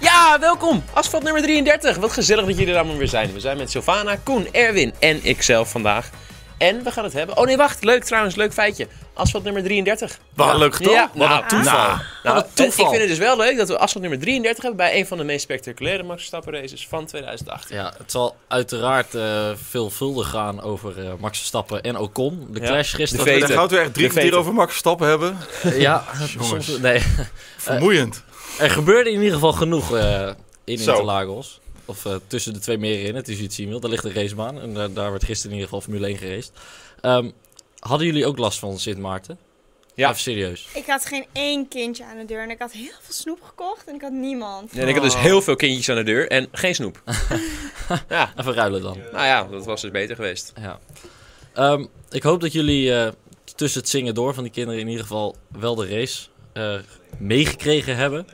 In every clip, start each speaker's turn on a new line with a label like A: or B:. A: Ja, welkom. Asfalt nummer 33. Wat gezellig dat jullie er allemaal weer zijn. We zijn met Sylvana, Koen, Erwin en ikzelf vandaag. En we gaan het hebben. Oh nee, wacht. Leuk trouwens, leuk feitje. Asfalt nummer 33.
B: Wat een leuk toch?
A: Ja,
B: Wat
A: nou,
B: een toeval.
A: nou, Nou,
B: Wat een toeval.
A: Ik vind het dus wel leuk dat we asfalt nummer 33 hebben bij een van de meest spectaculaire Max Verstappen races van 2018.
C: Ja, het zal uiteraard eh, veelvuldig gaan over eh, Max Verstappen en Ocon. De
A: Ja,
C: clash
A: de
C: gisteren.
B: Dat we
A: Veten.
B: de goudweg drie
A: De
B: kwartier
A: veten.
B: over Max Verstappen hebben.
A: Eh,
C: ja,
B: Jongens.
C: soms- nee,
B: Vermoeiend.
C: er gebeurde in ieder geval genoeg eh, in
B: Zo.
C: Interlagos. Of eh, tussen de twee meren in, het is iets zien wil. Daar ligt de racebaan en eh, daar- daar werd gisteren in ieder geval Formule 1 geraced. Ehm, hadden jullie ook last van Sint Maarten?
A: Ja.
C: Even serieus.
D: Ik had geen één kindje aan de deur en ik had heel veel snoep gekocht en ik had niemand.
A: En ik heb dus heel veel kindjes aan de deur en geen snoep. ja,
C: Even ruilen dan.
A: nou ja, dat was dus beter geweest.
C: Ja. Ehm, ik hoop dat jullie eh, tussen het zingen door van die kinderen in ieder geval wel de race eh, meegekregen hebben.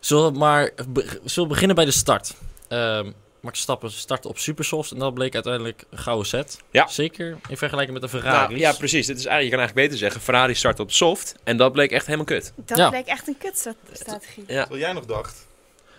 C: Zullen we, maar be- zullen we beginnen bij de start? Ehm Max Stappen startte op Supersoft en dat bleek uiteindelijk een gouden set.
A: Ja.
C: Zeker in vergelijking met de
A: Nou,
C: Ferrari.
A: ja, precies. Dit is eigenlijk, je kan eigenlijk beter zeggen, Ferrari start op soft en dat bleek echt helemaal kut.
D: Dat
C: Ja.
D: bleek echt een kutstrategie.
A: Ja.
B: Wat jij nog dacht.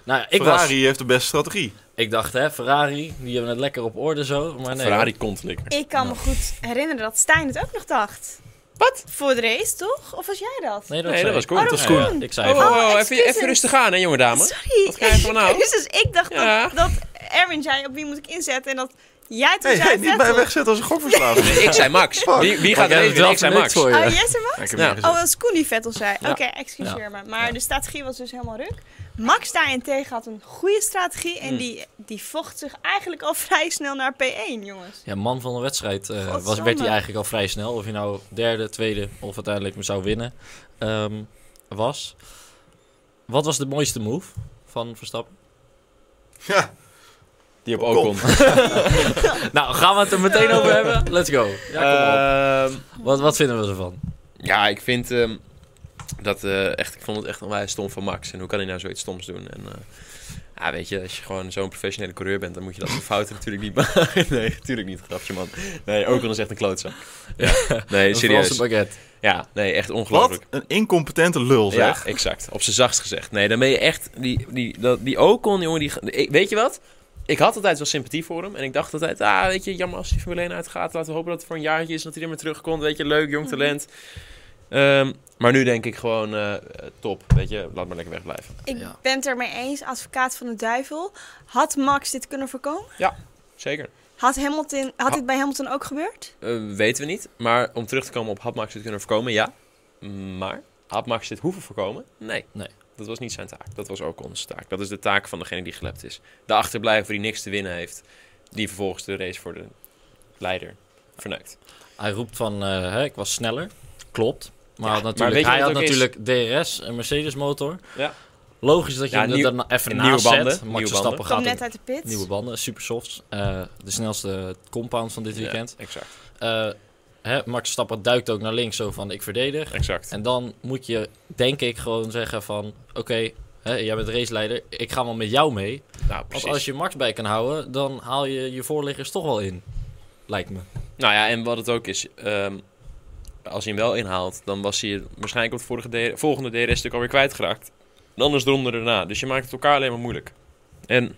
C: Nou, ik,
B: Ferrari
C: was,
B: heeft de beste strategie.
C: ik dacht, hè, Ferrari, die hebben het lekker op orde zo. Maar nee,
A: Ferrari kontlikker.
D: Ik kan me goed herinneren dat Stijn het ook nog dacht.
A: Wat?
D: Voor de race, toch? Of was jij dat?
C: Nee, dat,
A: Nee,
C: zei
A: dat was
C: ik.
A: Koen. Oh, dat
D: was
C: Ja, ja,
D: Koen.
C: ik zei
A: Oh,
C: van,
A: oh, oh, even,
D: excuses.
A: even rustig aan, hè, jonge dame.
D: Sorry.
A: Wat krijg je van nou?
D: dus ik dacht
A: Ja.
D: dat, dat Erwin zei op wie moet ik inzetten en dat jij toen
B: Hey,
D: zei
B: hey, niet
D: Vettel.
B: mij wegzetten als een gokverslaafde.
A: Nee, ik zei Max.
B: Fuck.
A: Wie, wie
C: Maar
A: gaat er
C: jij hebt
A: even?
C: wel
A: Ik zei
C: verneukt
A: Max.
C: voor je.
D: Oh, jij zei wat?
B: Ja, ik heb
A: Ja.
B: niet
D: Oh,
B: gezegd.
D: dat is Koen die Vettel zei.
C: Ja.
D: Oké, excuseer
C: Ja.
D: me. Maar
C: Ja.
D: de strategie was dus helemaal ruk. Max daarentegen had een goede strategie en
A: Hmm.
D: die, die vocht zich eigenlijk al vrij snel naar P1, jongens.
C: Ja, man van de wedstrijd eh, was,
D: Godzonder.
C: werd hij eigenlijk al vrij snel. Of hij nou derde, tweede of uiteindelijk zou winnen ehm, was. Wat was de mooiste move van Verstappen?
B: Ja,
A: Die op
B: Ocon.
A: Ocon.
C: Nou, gaan we het er meteen over hebben? Let's go. Ja, kom op.
A: Ehm,
C: Wat, wat vinden we ervan?
A: ja, ik vind ehm, dat eh, echt. Ik vond het echt onwijs stom van Max. En hoe kan hij nou zoiets stoms doen? En eh, ja, weet je, als je gewoon zo'n professionele coureur bent, dan moet je dat soort fouten natuurlijk niet maken. nee, natuurlijk niet, grapje man. Nee, Ocon is echt een klootzak. Ja. Nee,
C: Een Franse
A: serieus.
C: baguette.
A: Ja, nee, echt ongelooflijk.
B: wat een incompetente lul zeg.
A: Ja, exact. Op zijn zachtst gezegd. Nee, dan ben je echt... Die, die, dat, die Ocon, jongen, die, die- weet je wat? Ik had altijd wel sympathie voor hem. En ik dacht altijd, ah, weet je, jammer als hij Formule 1 uitgaat. Laten we hopen dat het voor een jaartje is, dat hij er maar terugkomt. Weet je, leuk, jong talent. Ehm, maar nu denk ik gewoon, eh, top. Weet je, laat maar lekker wegblijven.
D: Ik
C: Ja.
D: ben het ermee eens, advocaat van de duivel. Had Max dit kunnen voorkomen?
A: Zeker.
D: Had, Hamilton, had
A: Ha-
D: dit bij Hamilton ook gebeurd?
A: Eh, weten we niet. Maar om terug te komen op, had Max dit kunnen voorkomen? Ja. Maar had Max dit hoeven voorkomen? Nee.
C: Nee.
A: Dat was niet zijn taak. Dat was ook onze taak. Dat is de taak van degene die gelept is. De achterblijver die niks te winnen heeft. Die vervolgens de race voor de leider verneukt.
C: Hij roept van, eh, hè, ik was sneller. Klopt. Maar,
A: Ja,
C: had
A: maar
C: natuurlijk,
A: weet je
C: hij
A: wat
C: had
A: het ook
C: natuurlijk DRS, een Mercedes motor.
A: Ja.
C: Logisch dat je
A: Ja,
C: hem
A: nieuw-
C: er dan even
A: en
C: naast
A: nieuwe
C: zet.
A: banden,
C: Max
A: nieuwe
C: Verstappen
A: banden.
D: Kwam
C: gaat
D: net
C: hem-
D: uit de pit.
C: nieuwe banden, super softs. eh, de snelste compound van dit weekend.
A: Ja, exact.
C: eh, hè, Max Verstappen duikt ook naar links zo van ik verdedig.
A: Exact.
C: En dan moet je denk ik gewoon zeggen van oké, hè, jij bent raceleider, ik ga wel met jou mee.
A: nou,
C: Want
A: precies.
C: als je Max bij kan houden, dan haal je je voorliggers toch wel in. Lijkt me.
A: Nou ja, en wat het ook is. ehm, als hij hem wel inhaalt, dan was hij waarschijnlijk op het vorige D- volgende DRS-stuk alweer kwijtgeraakt. En anders de ronde erna. Dus je maakt het elkaar alleen maar moeilijk. En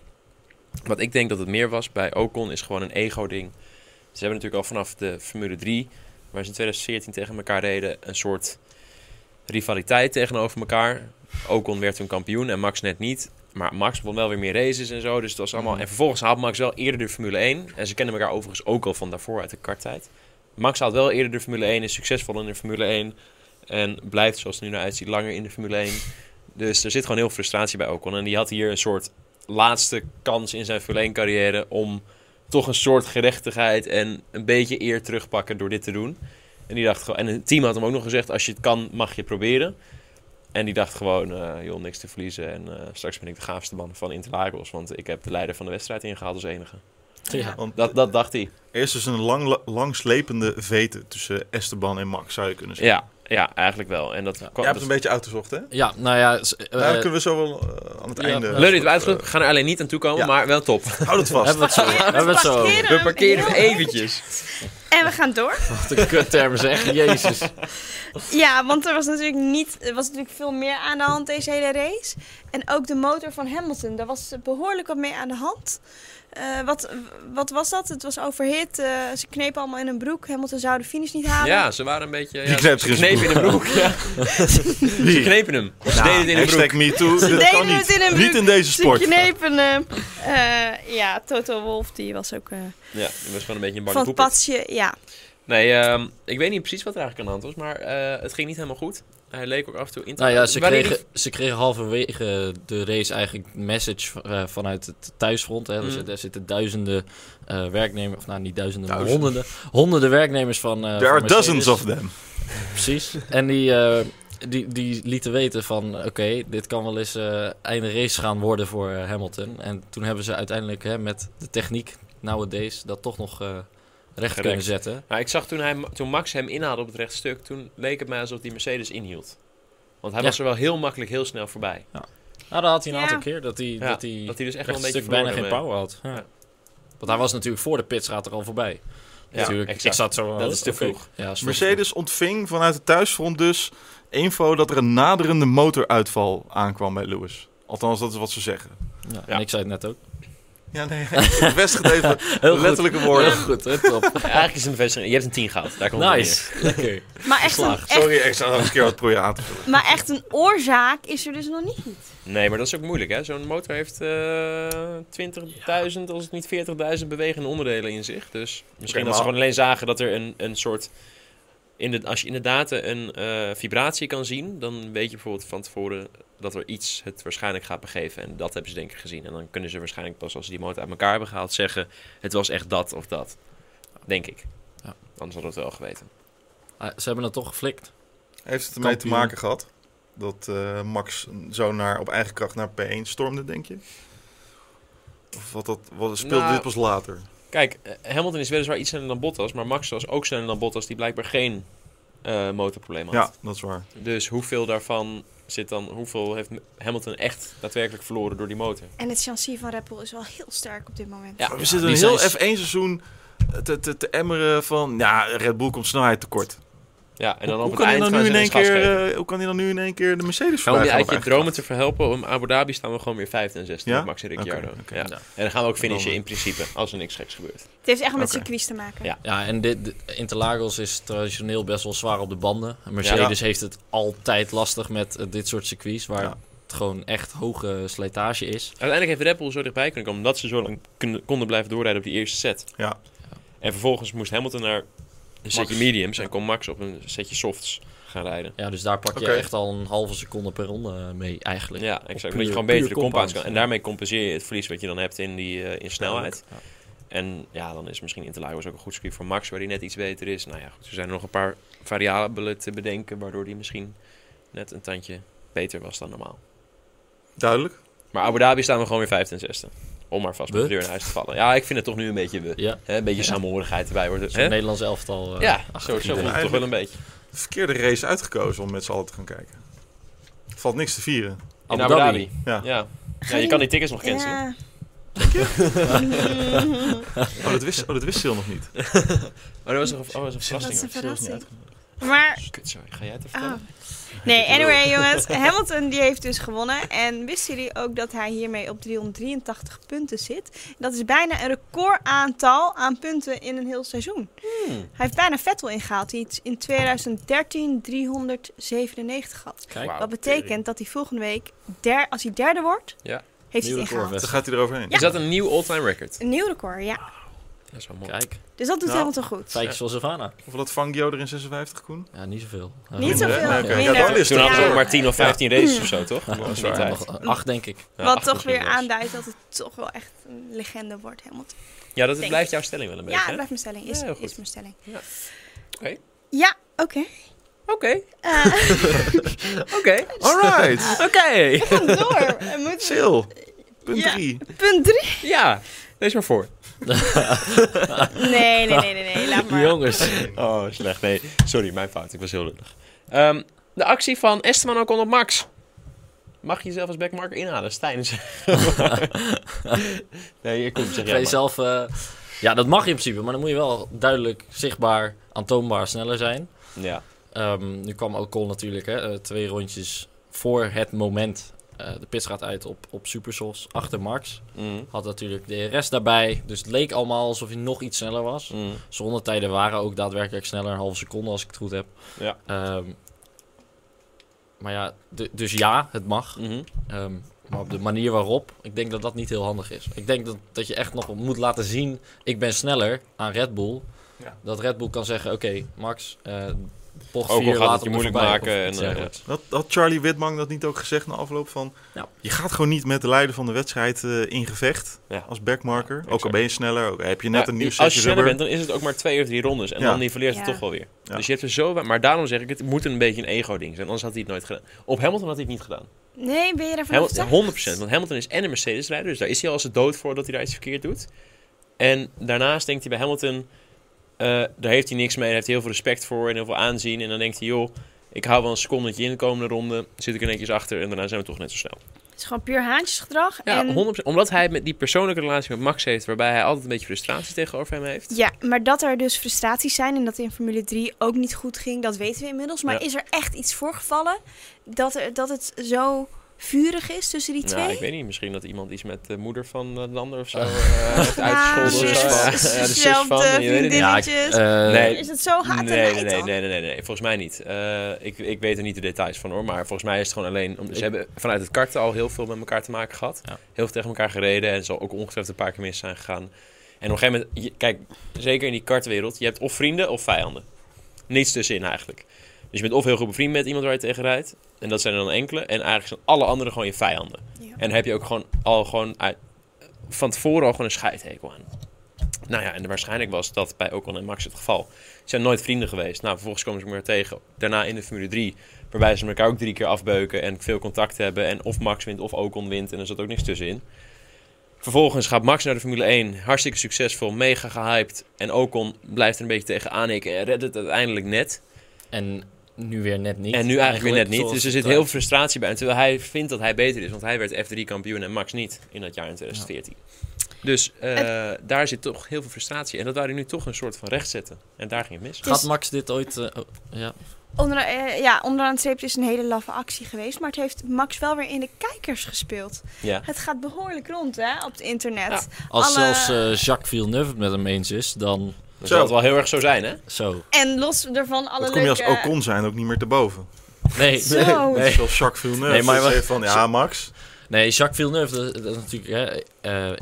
A: wat ik denk dat het meer was bij Ocon is gewoon een ego-ding. Ze hebben natuurlijk al vanaf de Formule 3, waar ze in 2014 tegen elkaar reden, een soort rivaliteit tegenover elkaar. Ocon werd toen kampioen en Max net niet. Maar Max won wel weer meer races en zo. Dus het was allemaal.
C: Mhm.
A: En vervolgens haalt Max wel eerder de Formule 1. En ze kennen elkaar overigens ook al van daarvoor uit de karttijd. Max haalt wel eerder de Formule 1, is succesvol in de Formule 1. En blijft, zoals het nu naar uitziet, langer in de Formule 1. Dus er zit gewoon heel veel frustratie bij Ocon. En die had hier een soort laatste kans in zijn Formule 1 carrière om toch een soort gerechtigheid en een beetje eer terugpakken door dit te doen. En die dacht gewoon, en het team had hem ook nog gezegd: als je het kan, mag je het proberen. En die dacht gewoon, eh joh, niks te verliezen. En eh, straks ben ik de gaafste man van Interlagos. Want ik heb de leider van de wedstrijd ingehaald als enige.
C: Ja.
B: Want
A: Dat, dat dacht hij.
B: er is dus een lang, langslepende veten tussen Esteban en Max, zou je kunnen zeggen.
A: Ja, ja, eigenlijk wel. En dat
C: Ja.
A: kwam.
B: Jij hebt
A: dat-
B: het een beetje uitgezocht, hè?
C: Ja, nou ja, s- eh,
B: Daar kunnen we zo wel eh, aan het
C: ja.
B: einde...
C: Leuk
A: Leuk dat we uitgelegd hebben. We gaan er alleen niet aan toe komen,
B: Ja.
A: maar wel top.
B: Houd het vast.
C: hebben we het zo. hebben we het zo. over.
A: We parkeren hem
D: heel
A: eventjes.
D: En we gaan door.
C: Wat een kutterm zeg, jezus.
D: Ja, want er was natuurlijk, niet, er was natuurlijk veel meer aan de hand deze hele race. En ook de motor van Hamilton, daar was behoorlijk wat mee aan de hand. Eh, wat, wat was dat? Het was overhit. eh, ze knepen allemaal in hun broek. Hamilton zou de finish niet halen.
A: Ja, ze waren een beetje...
B: Die
A: Ja, ze
B: kneep
A: ze
B: er in zijn
A: knepen in de broek. Ja. Ze
B: Wie?
A: knepen hem. Ze deden het in de broek.
B: Nou, Hashtag me too.
D: Ze
B: Dat kan
D: deden het
B: niet.
D: in een
B: Niet
D: broek.
B: in deze
D: Ze
B: sport.
D: knepen hem. Eh, ja, Toto Wolf, die was ook eh,
A: Ja, dat was gewoon een beetje een
D: van
A: bange
D: het
A: poeper.
D: padje. Ja.
A: Nee, ehm, ik weet niet precies wat er eigenlijk aan de hand was, maar eh, het ging niet helemaal goed. Hij leek ook af en toe in te
C: Nou ja, ze
A: Waren jullie-
C: kregen, ze kregen halverwege de race eigenlijk een message eh, vanuit het thuisfront. Hè. Er,
A: Mm.
C: zitten, er zitten duizenden eh, werknemers, of nou niet duizenden, maar
B: Duizenden.
C: honderden, honderden werknemers van. eh
B: There
C: van
B: are
C: Mercedes.
B: dozens of them.
C: Precies. En die, eh, die, die lieten weten van, oké, dit kan wel eens eh einde race gaan worden voor eh, Hamilton. En toen hebben ze uiteindelijk hè, met de techniek nowadays dat toch nog eh, recht kunnen zetten.
A: Maar Nou, ik zag toen, hij, toen Max hem inhaalde op het rechtstuk, toen leek het mij alsof die Mercedes inhield. Want hij
C: Ja.
A: was er wel heel makkelijk heel snel voorbij.
C: Nou, dat had hij een
D: Ja.
C: aantal keer dat hij,
A: Ja,
C: dat hij
A: Dat hij dus echt wel
C: echt
A: een
C: een
A: beetje
C: stuk bijna geen
A: verloren daarmee.
C: power had. Ja.
A: Ja.
C: Want hij was natuurlijk voor de pitstraat er al voorbij.
A: Ja,
C: natuurlijk.
A: exact.
C: Ik zat zo...
A: Dat is te
C: oké.
A: vroeg.
C: Ja, is te
B: Mercedes ontving vanuit het thuisfront dus info dat er een naderende motoruitval aankwam bij Lewis. Althans, dat is wat ze zeggen.
C: vroeg. Ja,
A: Ja.
C: En ik zei het net ook.
B: Ja, nee, bevestig even
C: Heel
B: letterlijke
C: Heel
B: woorden.
C: goed, hè, top.
A: Ja, Eigenlijk is het een bevestiging. Je hebt een 10 gehad. Daar komt het op neer.
C: nice. Lekker.
D: Maar echt, een,
C: Geslaagd.
D: echt,
B: Sorry, ik zou nog een keer wat proberen aan te vullen.
D: maar echt een oorzaak is er dus nog niet.
A: Nee, maar dat is ook moeilijk, hè? Zo'n motor heeft eh 20.000, als het niet 40.000 bewegende onderdelen in zich. Dus misschien
B: Oké,
A: dat ze
B: maar-
A: gewoon alleen zagen dat er een, een soort... In de, als je in de data een eh, vibratie kan zien, dan weet je bijvoorbeeld van tevoren dat er iets het waarschijnlijk gaat begeven. En dat hebben ze denk ik gezien. En dan kunnen ze waarschijnlijk pas als ze die motor uit elkaar hebben gehaald zeggen... het was echt dat of dat. Denk ik.
C: Ja.
A: Anders hadden we het wel geweten.
C: Ah, ze hebben het toch geflikt.
B: Heeft het ermee te
C: Kampioen.
B: maken gehad dat eh, Max zo naar, op eigen kracht naar P1 stormde, denk je? Of wat dat, wat, speelde
A: Nou,
B: dit pas later?
A: Kijk, eh, Hamilton is weliswaar iets sneller dan Bottas, maar Max was ook sneller dan Bottas, die blijkbaar geen eh motorprobleem had.
B: Ja, dat is waar.
A: Dus hoeveel daarvan zit dan, hoeveel heeft Hamilton echt daadwerkelijk verloren door die motor?
D: En het chassis van Red Bull is wel heel sterk op dit moment.
A: Ja.
B: We zitten een
C: die
B: heel
C: zijn-
B: F1-seizoen te, te, te emmeren van... Ja, Red Bull komt snelheid tekort.
A: Ja, en dan
B: hoe,
A: op het
B: kan hij
A: eind
B: dan
A: gaan
B: nu
A: ze
B: in één
A: eens gas
B: keer,
A: geven.
B: eh, hoe kan hij dan nu in één keer de Mercedes
A: Ja, om
B: voorbij
A: je
B: gaan op
A: uit je
B: eigen
A: dromen te verhelpen, om Abu Dhabi staan we gewoon weer 5 en 6
B: Ja?
A: met Max en Ricciardo.
B: Oké, oké.
A: Ja.
C: Ja.
A: En dan gaan we ook
B: Dan,
A: finishen
B: eh,
A: in principe, als er niks geks gebeurt.
D: Het heeft echt met
B: Oké.
D: circuits te maken.
A: Ja.
C: Ja, en dit, de- Interlagos is traditioneel best wel zwaar op de banden. En Mercedes heeft het altijd lastig met eh, dit soort circuits, waar
B: Ja.
C: het gewoon echt hoge slijtage is.
A: Uiteindelijk heeft Red Bull zo dichtbij kunnen komen, omdat ze zo lang kunnen- konden blijven doorrijden op die eerste set.
B: Ja.
A: En vervolgens moest Hamilton naar een setje mediums en kon Max op een setje softs gaan rijden.
C: Ja, dus daar pak je
B: Oké.
C: echt al een halve seconde per ronde eh, mee eigenlijk.
A: Ja, exact.
C: puur-
A: Omdat je gewoon
C: puur
A: beter de compounds
C: compounds,
A: kan. En
C: ja.
A: daarmee compenseer je het verlies wat je dan hebt in, die, eh, in snelheid.
C: Ja.
A: En ja, dan is misschien Interlagos ook een goed circuit voor Max, waar die net iets beter is. Nou ja, goed, er zijn nog een paar variabelen te bedenken, waardoor die misschien net een tandje beter was dan normaal.
B: Duidelijk.
A: Maar Abu Dhabi staan we gewoon weer vijfde en zesde. Om maar vast met
C: We?
A: de deur in huis te vallen. Ja, ik vind het toch nu een beetje we.
C: Ja,
A: Hè, een beetje
C: Ja.
A: saamhorigheid erbij worden.
C: zo'n
A: hè?
C: Nederlands elftal. eh,
A: Ja,
C: achter
A: zo, zo
C: iedereen.
A: voelt het toch wel een beetje.
B: Verkeerde race uitgekozen om met z'n allen te gaan kijken. Er valt niks te vieren.
A: In Abu Dhabi.
B: Ja.
A: Ja. ja, je kan die tickets nog cancelen.
D: Ja.
B: Oh, dat wist, oh, dat wist Sil nog niet.
A: Oh, dat was een, oh, dat was een
D: Dat is
A: verrassing.
D: een verrassing. Maar
A: Kut, sorry. Ga jij het even
D: Ah.
A: vertellen?
D: Nee, anyway jongens, Hamilton die heeft dus gewonnen. En wisten jullie ook dat hij hiermee op 383 punten zit? Dat is bijna een recordaantal aan punten in een heel seizoen. Hij heeft bijna Vettel ingehaald, die het in 2013 397 had.
C: Kijk,
A: Wauw.
D: Wat betekent dat hij volgende week, der, als hij derde wordt,
A: Ja.
D: heeft
C: Nieuw
D: hij het
C: record
D: ingehaald.
B: Dan gaat hij eroverheen.
A: Is dat een nieuw all-time record?
D: Een nieuw record, ja.
A: Dat is wel mooi.
C: kijk.
D: Dus dat doet
B: Nou,
D: Hamilton goed.
C: Feitjes van Savannah.
B: Hoeveel had Fangio er in 56, Koen?
C: Ja, niet zoveel. Eh,
D: Niet
B: Minder,
D: zoveel,
B: hè?
C: Oké.
B: Ja,
D: minder.
B: dat is
A: Toen
B: Ja.
A: hadden ze ook maar 10 of 15 races of zo, toch?
C: Ja,
A: In die
B: waar.
A: tijd.
C: nog acht denk ik.
A: Ja,
D: Wat
A: acht
D: toch
A: misschien
D: weer
A: zelfs.
D: aanduidt dat het toch wel echt een legende wordt, Hamilton.
A: Ja, dat
D: Denk
A: blijft
D: ik.
A: jouw stelling wel een
D: Ja,
A: beetje.
D: dat
A: hè?
D: blijft mijn stelling. Is,
A: Ja, heel goed.
D: is mijn stelling.
A: Ja. Oké.
D: Ja, oké.
A: Oké,
D: Eh,
A: oké,
B: Alright.
A: oké.
D: we gaan door. We moeten-
B: Sil. Punt
D: Ja.
B: 3.
D: Punt drie.
A: Ja, lees maar voor.
D: Nee, nee, nee, nee, nee. Laat maar.
C: Jongens.
A: Oh, slecht. Nee, sorry, mijn fout. Ik was heel lullig. Ehm, de actie van Esteban Ocon op Max. Mag je jezelf als backmarker inhalen, Stijn? nee, ik kom zeg
C: Ga
A: jij
C: je
A: maar.
C: zelf, eh, ja, dat mag in principe, maar dan moet je wel duidelijk, zichtbaar, aantoonbaar sneller zijn.
A: Ja,
C: Ehm, nu kwam Ocon natuurlijk hè, eh, twee rondjes voor het moment eh, de pits gaat uit op, op Supersos achter Max.
A: Mm,
C: Had natuurlijk DRS daarbij. Dus het leek allemaal alsof hij nog iets sneller was.
A: mm.
C: Zijn rondetijden waren ook daadwerkelijk sneller, een halve seconde als ik het goed heb.
A: Ja.
C: Ehm, maar ja, du- dus ja, het mag.
A: Mhm.
C: Ehm, maar op de manier waarop, ik denk dat dat niet heel handig is. Ik denk dat, dat je echt nog moet laten zien, ik ben sneller aan Red Bull.
B: Ja.
C: Dat Red Bull kan zeggen, oké Max, eh bocht
A: Ook al
C: vier,
A: gaat
C: laat
A: het je
C: hem er
A: moeilijk maken
C: voorbij, of
A: en,
C: iets
A: eh,
C: dergelijks.
B: Had, had Charlie Whitman dat niet ook gezegd na afloop van...
D: Nou,
C: Ja.
B: Je gaat gewoon niet met de leider van de wedstrijd eh, in gevecht
A: Ja.
B: als backmarker.
A: Ja,
B: ook al
A: exact.
B: ben je sneller, ook, al heb je net
A: Ja,
B: een nieuw
A: Als je
B: setje
A: sneller
B: rubber.
A: bent, dan is het ook maar twee of drie rondes. En
B: Ja.
A: dan nivelleert het
D: Ja.
A: toch wel weer.
B: Ja.
A: Dus je hebt er zo... Maar daarom zeg ik, het moet een beetje een ego-ding zijn. Anders had hij het nooit gedaan. Op Hamilton had hij het niet gedaan.
D: Nee, ben je daarvan
A: Hamilton,
D: overtuigd?
A: 100%. Want Hamilton is en een Mercedes-rijder. Dus daar is hij al als het dood voor dat hij daar iets verkeerd doet. En daarnaast denkt hij bij Hamilton... eh, daar heeft hij niks mee. Daar heeft hij heel veel respect voor en heel veel aanzien. En dan denkt hij, joh... Ik hou wel een secondetje in de komende ronde. Zit ik er netjes achter. En daarna zijn we toch net zo snel.
D: Het is gewoon puur haantjesgedrag.
A: Ja,
D: en...
A: 100%. Omdat hij met die persoonlijke relatie met Max heeft... waarbij hij altijd een beetje frustratie tegenover hem heeft.
D: Ja, maar dat er dus frustraties zijn en dat in Formule 3 ook niet goed ging, dat weten we inmiddels. Maar
A: Ja.
D: is er echt iets voorgevallen dat, er, dat het zo vurig is tussen die twee?
A: Nou, ik weet niet. Misschien dat iemand iets met de moeder van eh, Lander of zo eh, heeft uitgescholden.
B: zus,
A: of zo. Ja,
B: zus,
A: ja, de zus
D: zelfde
A: van, je weet het niet.
D: vriendin.
C: Ja, ik-
D: dingetjes.
C: eh,
A: Nee.
D: Is het zo haat en
A: Nee,
D: nijd
A: nee, nee,
D: dan?
A: nee, nee, nee. Volgens mij niet. Eh, ik, ik weet er niet de details van hoor. Maar volgens mij is het gewoon alleen... om- ze
C: Ik-
A: hebben vanuit het karten al heel veel met elkaar te maken gehad.
C: Ja.
A: Heel veel tegen elkaar gereden. En zal ook ongetwijfeld een paar keer mis zijn gegaan. En op een gegeven moment... je- kijk, zeker in die kartwereld. Je hebt of vrienden of vijanden. Niets tussenin eigenlijk. Dus je bent of heel goed bevriend met iemand waar je tegen rijdt. En dat zijn er dan enkele. En eigenlijk zijn alle anderen gewoon je vijanden.
D: Ja.
A: En heb je ook gewoon al gewoon uit- van tevoren al gewoon een scheidhekel aan. Nou ja, en waarschijnlijk was dat bij Ocon en Max het geval. Ze zijn nooit vrienden geweest. Nou, vervolgens komen ze elkaar tegen. Daarna in de Formule 3, waarbij ze elkaar ook drie keer afbeuken en veel contact hebben. En of Max wint of Ocon wint en er zat ook niks tussenin. Vervolgens gaat Max naar de Formule 1. Hartstikke succesvol, mega gehyped. En Ocon blijft er een beetje tegen aanhikken en redt het uiteindelijk net.
C: En nu weer net niet.
A: En nu eigenlijk weer net niet.
C: zoals
A: Dus er
C: het eh,
A: zit heel
C: draait.
A: veel frustratie bij. hem, Terwijl hij vindt dat hij beter is. Want hij werd F3 kampioen en Max niet in dat jaar in 2014. Dus eh, daar zit toch heel veel frustratie. En dat wou hij nu toch een soort van recht zetten. En daar ging het mis.
D: Dus-
C: Gaat Max dit ooit... eh, oh, ja.
D: Onder, eh, ja, onderaan het streep is het een hele laffe actie geweest, maar het heeft Max wel weer in de kijkers gespeeld.
A: Ja.
D: Het gaat behoorlijk rond hè, op het internet.
A: Ja.
C: Als
D: Alle-
C: zelfs eh, Jacques Villeneuve het met hem eens is, dan
A: Dat zal het wel heel erg zo zijn, hè?
C: zo.
D: En los daarvan alle
B: Dat kom je
D: leuke...
B: als Ocon zijn ook niet meer te boven.
C: Nee,
D: Zo.
B: Dat is Zoals Jacques Villeneuve.
C: Nee,
B: Nee,
C: maar
B: maar
C: wa-
B: van, ja Max,
C: Nee, Jacques Villeneuve, dat, dat is natuurlijk hè, eh,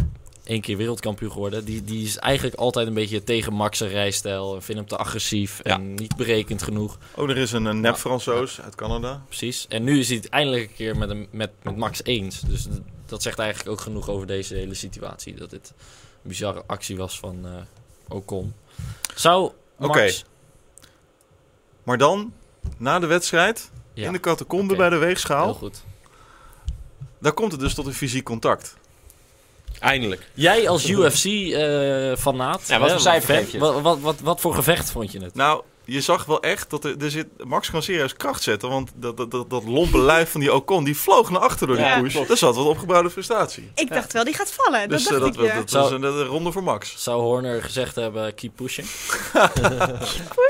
C: één keer wereldkampioen geworden. Die, die is eigenlijk altijd een beetje tegen Max' zijn rijstijl. En vindt hem te agressief
A: Ja.
C: en niet berekend genoeg.
B: ook nog eens een eh, nep Fransoos uit Canada.
C: Precies. En nu is hij het eindelijk een keer met, hem, met, met Max eens. Dus d- dat zegt eigenlijk ook genoeg over deze hele situatie. Dat dit een bizarre actie was van eh Ocon. Zou Max...
B: Oké. Maar dan, na de wedstrijd,
C: Ja,
B: in de catacombe
C: Oké.
B: bij de
C: heel
B: weegschaal,
C: goed.
B: daar komt het dus tot een fysiek contact.
A: Eindelijk.
C: Jij als UFC-fanaat...
A: Ja, wat voor cijfer geef je het?
C: eh, wat, wat, wat, wat voor gevecht vond je het?
B: Nou, je zag wel echt dat er, er zit, Max kan serieus kracht zetten, want dat, dat, dat, dat lompe lijf van die Ocon, die vloog naar achter door die Dus
A: Ja,
B: push.
A: klopt.
B: Daar zat wat opgebouwde frustratie.
D: Ik dacht wel, die gaat vallen.
B: Dus eh,
D: dat
B: dat,
D: dacht
B: dat,
D: ik
B: dat
C: Zo.
B: was een, een ronde voor Max.
C: Zou Horner gezegd hebben, keep pushing?
A: Zou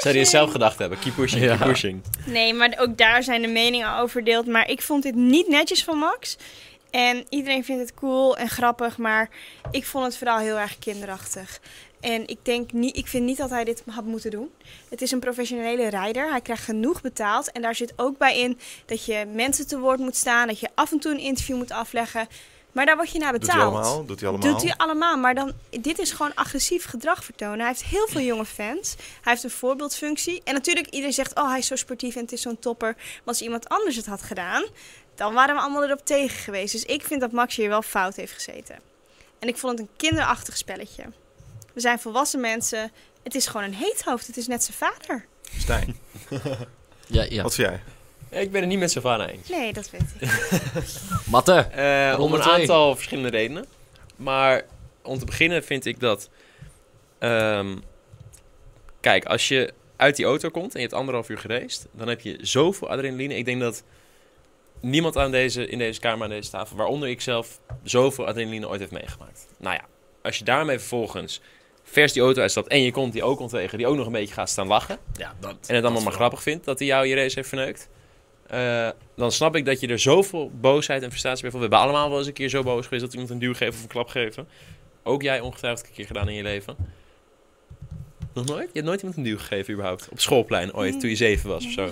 A: hij het zelf gedacht hebben? Keep pushing, keep
C: Ja.
A: pushing.
D: ja. Nee, maar ook daar zijn de meningen over verdeeld. Maar ik vond dit niet netjes van Max. En iedereen vindt het cool en grappig, maar ik vond het vooral heel erg kinderachtig. En ik, denk niet, ik vind niet dat hij dit had moeten doen. Het is een professionele rijder. Hij krijgt genoeg betaald. En daar zit ook bij in dat je mensen te woord moet staan. Dat je af en toe een interview moet afleggen. Maar daar word je naar
B: Doet hij
D: betaald.
B: allemaal? Doet hij allemaal?
D: Doet hij allemaal, maar dan, dit is gewoon agressief gedrag vertonen. Hij heeft heel veel jonge fans. Hij heeft een voorbeeldfunctie. En natuurlijk, iedereen zegt, oh, hij is zo sportief en het is zo'n topper. Maar als iemand anders het had gedaan, dan waren we allemaal erop tegen geweest. Dus ik vind dat Max hier wel fout heeft gezeten. En ik vond het een kinderachtig spelletje. We zijn volwassen mensen. Het is gewoon een heethoofd. Het is net zijn vader.
B: Stijn,
C: Ja, ja.
B: wat vind jij?
A: Ik ben het niet met Savannah eens.
D: Nee, dat weet ik.
C: Matte!
A: Eh, om
C: Ronde
A: een
C: twee.
A: aantal verschillende redenen. Maar om te beginnen vind ik dat... ehm, kijk, als je uit die auto komt en je hebt anderhalf uur gereisd... dan heb je zoveel adrenaline. Ik denk dat niemand aan deze, in deze kamer, aan deze tafel... waaronder ik zelf, zoveel adrenaline ooit heeft meegemaakt. Nou ja, als je daarmee vervolgens vers die auto uitstapt... en je komt die ook ontwegen, die ook nog een beetje gaat staan lachen...
C: Ja, dat,
A: en het allemaal maar grappig vindt dat hij jou je race heeft verneukt... eh, eh, dan snap ik dat je er zoveel boosheid en frustratie bij voelt. We hebben allemaal wel eens een keer zo boos geweest dat iemand een duw geeft of een klap geeft. Ook jij ongetwijfeld een keer gedaan in je leven. Nog nooit? Je hebt nooit iemand een duw gegeven überhaupt? Op schoolplein ooit, toen je zeven was of zo?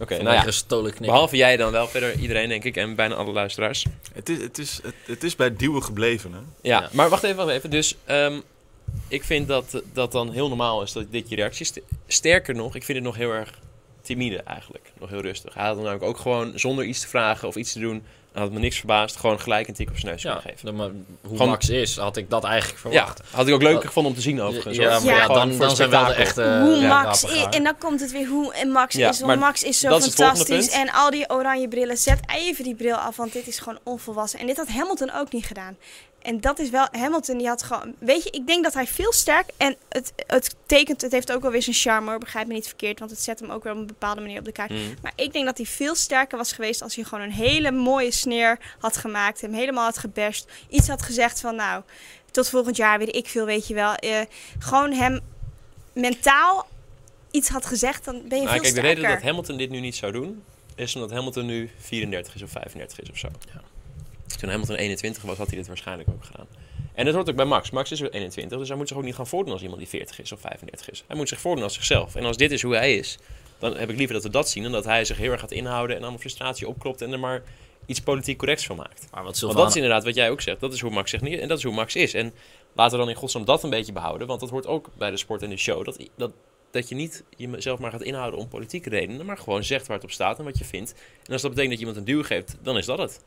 A: Oké, nou ja.
C: gestolen knippen.
A: Behalve jij dan wel, verder iedereen denk ik en bijna alle luisteraars.
B: Het is, het, is, het, het is bij duwen gebleven, hè?
A: Ja,
C: Ja.
A: maar wacht even, wacht even. Dus ehm, ik vind dat dat dan heel normaal is dat dit je reactie is. Sterker nog, ik vind het nog heel erg timide eigenlijk. Nog heel rustig. Hij had hem namelijk ook gewoon zonder iets te vragen of iets te doen, hij had me niks verbaasd, gewoon gelijk een tik op zijn neus
C: ja,
A: kunnen geven.
C: dan maar hoe
A: Gewoon-
C: Max is, had ik dat eigenlijk
A: Ja,
C: verwacht.
A: had ik ook leuk gevonden om te zien overigens.
C: ja, maar
A: hoor.
D: Ja,
C: ja,
A: Gewoon
C: dan,
A: voor
C: dan zijn wel de
A: spektakel.
C: echte
D: hoe
C: eh,
D: Max
C: rapen
D: is.
C: gaan.
D: En dan komt het weer hoe en Max
A: Ja,
D: is.
A: maar
D: Want Max is zo
A: dat is het volgende
D: fantastisch.
A: punt.
D: En al die oranje brillen. Zet even die bril af, want dit is gewoon onvolwassen. En dit had Hamilton ook niet gedaan. En dat is wel... Hamilton die had gewoon... Weet je, ik denk dat hij veel sterk... En het, het tekent... Het heeft ook wel weer zijn charme hoor. Begrijp me niet verkeerd. Want het zet hem ook weer op een bepaalde manier op de kaart.
A: Mm.
D: Maar ik denk dat hij veel sterker was geweest als hij gewoon een hele mooie sneer had gemaakt. Hem helemaal had gebashed. Iets had gezegd van nou, tot volgend jaar weet ik veel, weet je wel. Eh, gewoon hem mentaal iets had gezegd, dan ben je
A: Nou,
D: veel
A: kijk, de
D: sterker.
A: reden dat Hamilton dit nu niet zou doen, is omdat Hamilton nu 34 is of 35 is of zo.
C: Ja.
A: Toen Hamilton 21 was, had hij dit waarschijnlijk ook gedaan. En dat hoort ook bij Max. Max is weer 21, dus hij moet zich ook niet gaan voordoen als iemand die 40 is of 35 is. Hij moet zich voordoen als zichzelf. En als dit is hoe hij is, dan heb ik liever dat we dat zien dan dat hij zich heel erg gaat inhouden en allemaal frustratie opklopt en er maar iets politiek corrects van maakt.
C: Maar wat
A: Want
C: Sylvana...
A: dat is inderdaad wat jij ook zegt. Dat is hoe Max zich niet. En dat is hoe Max is. En laten we dan in godsnaam dat een beetje behouden. Want dat hoort ook bij de sport en de show. Dat, dat, dat je niet jezelf maar gaat inhouden om politieke redenen. Maar gewoon zegt waar het op staat en wat je vindt. En als dat betekent dat je iemand een duw geeft, dan is dat het.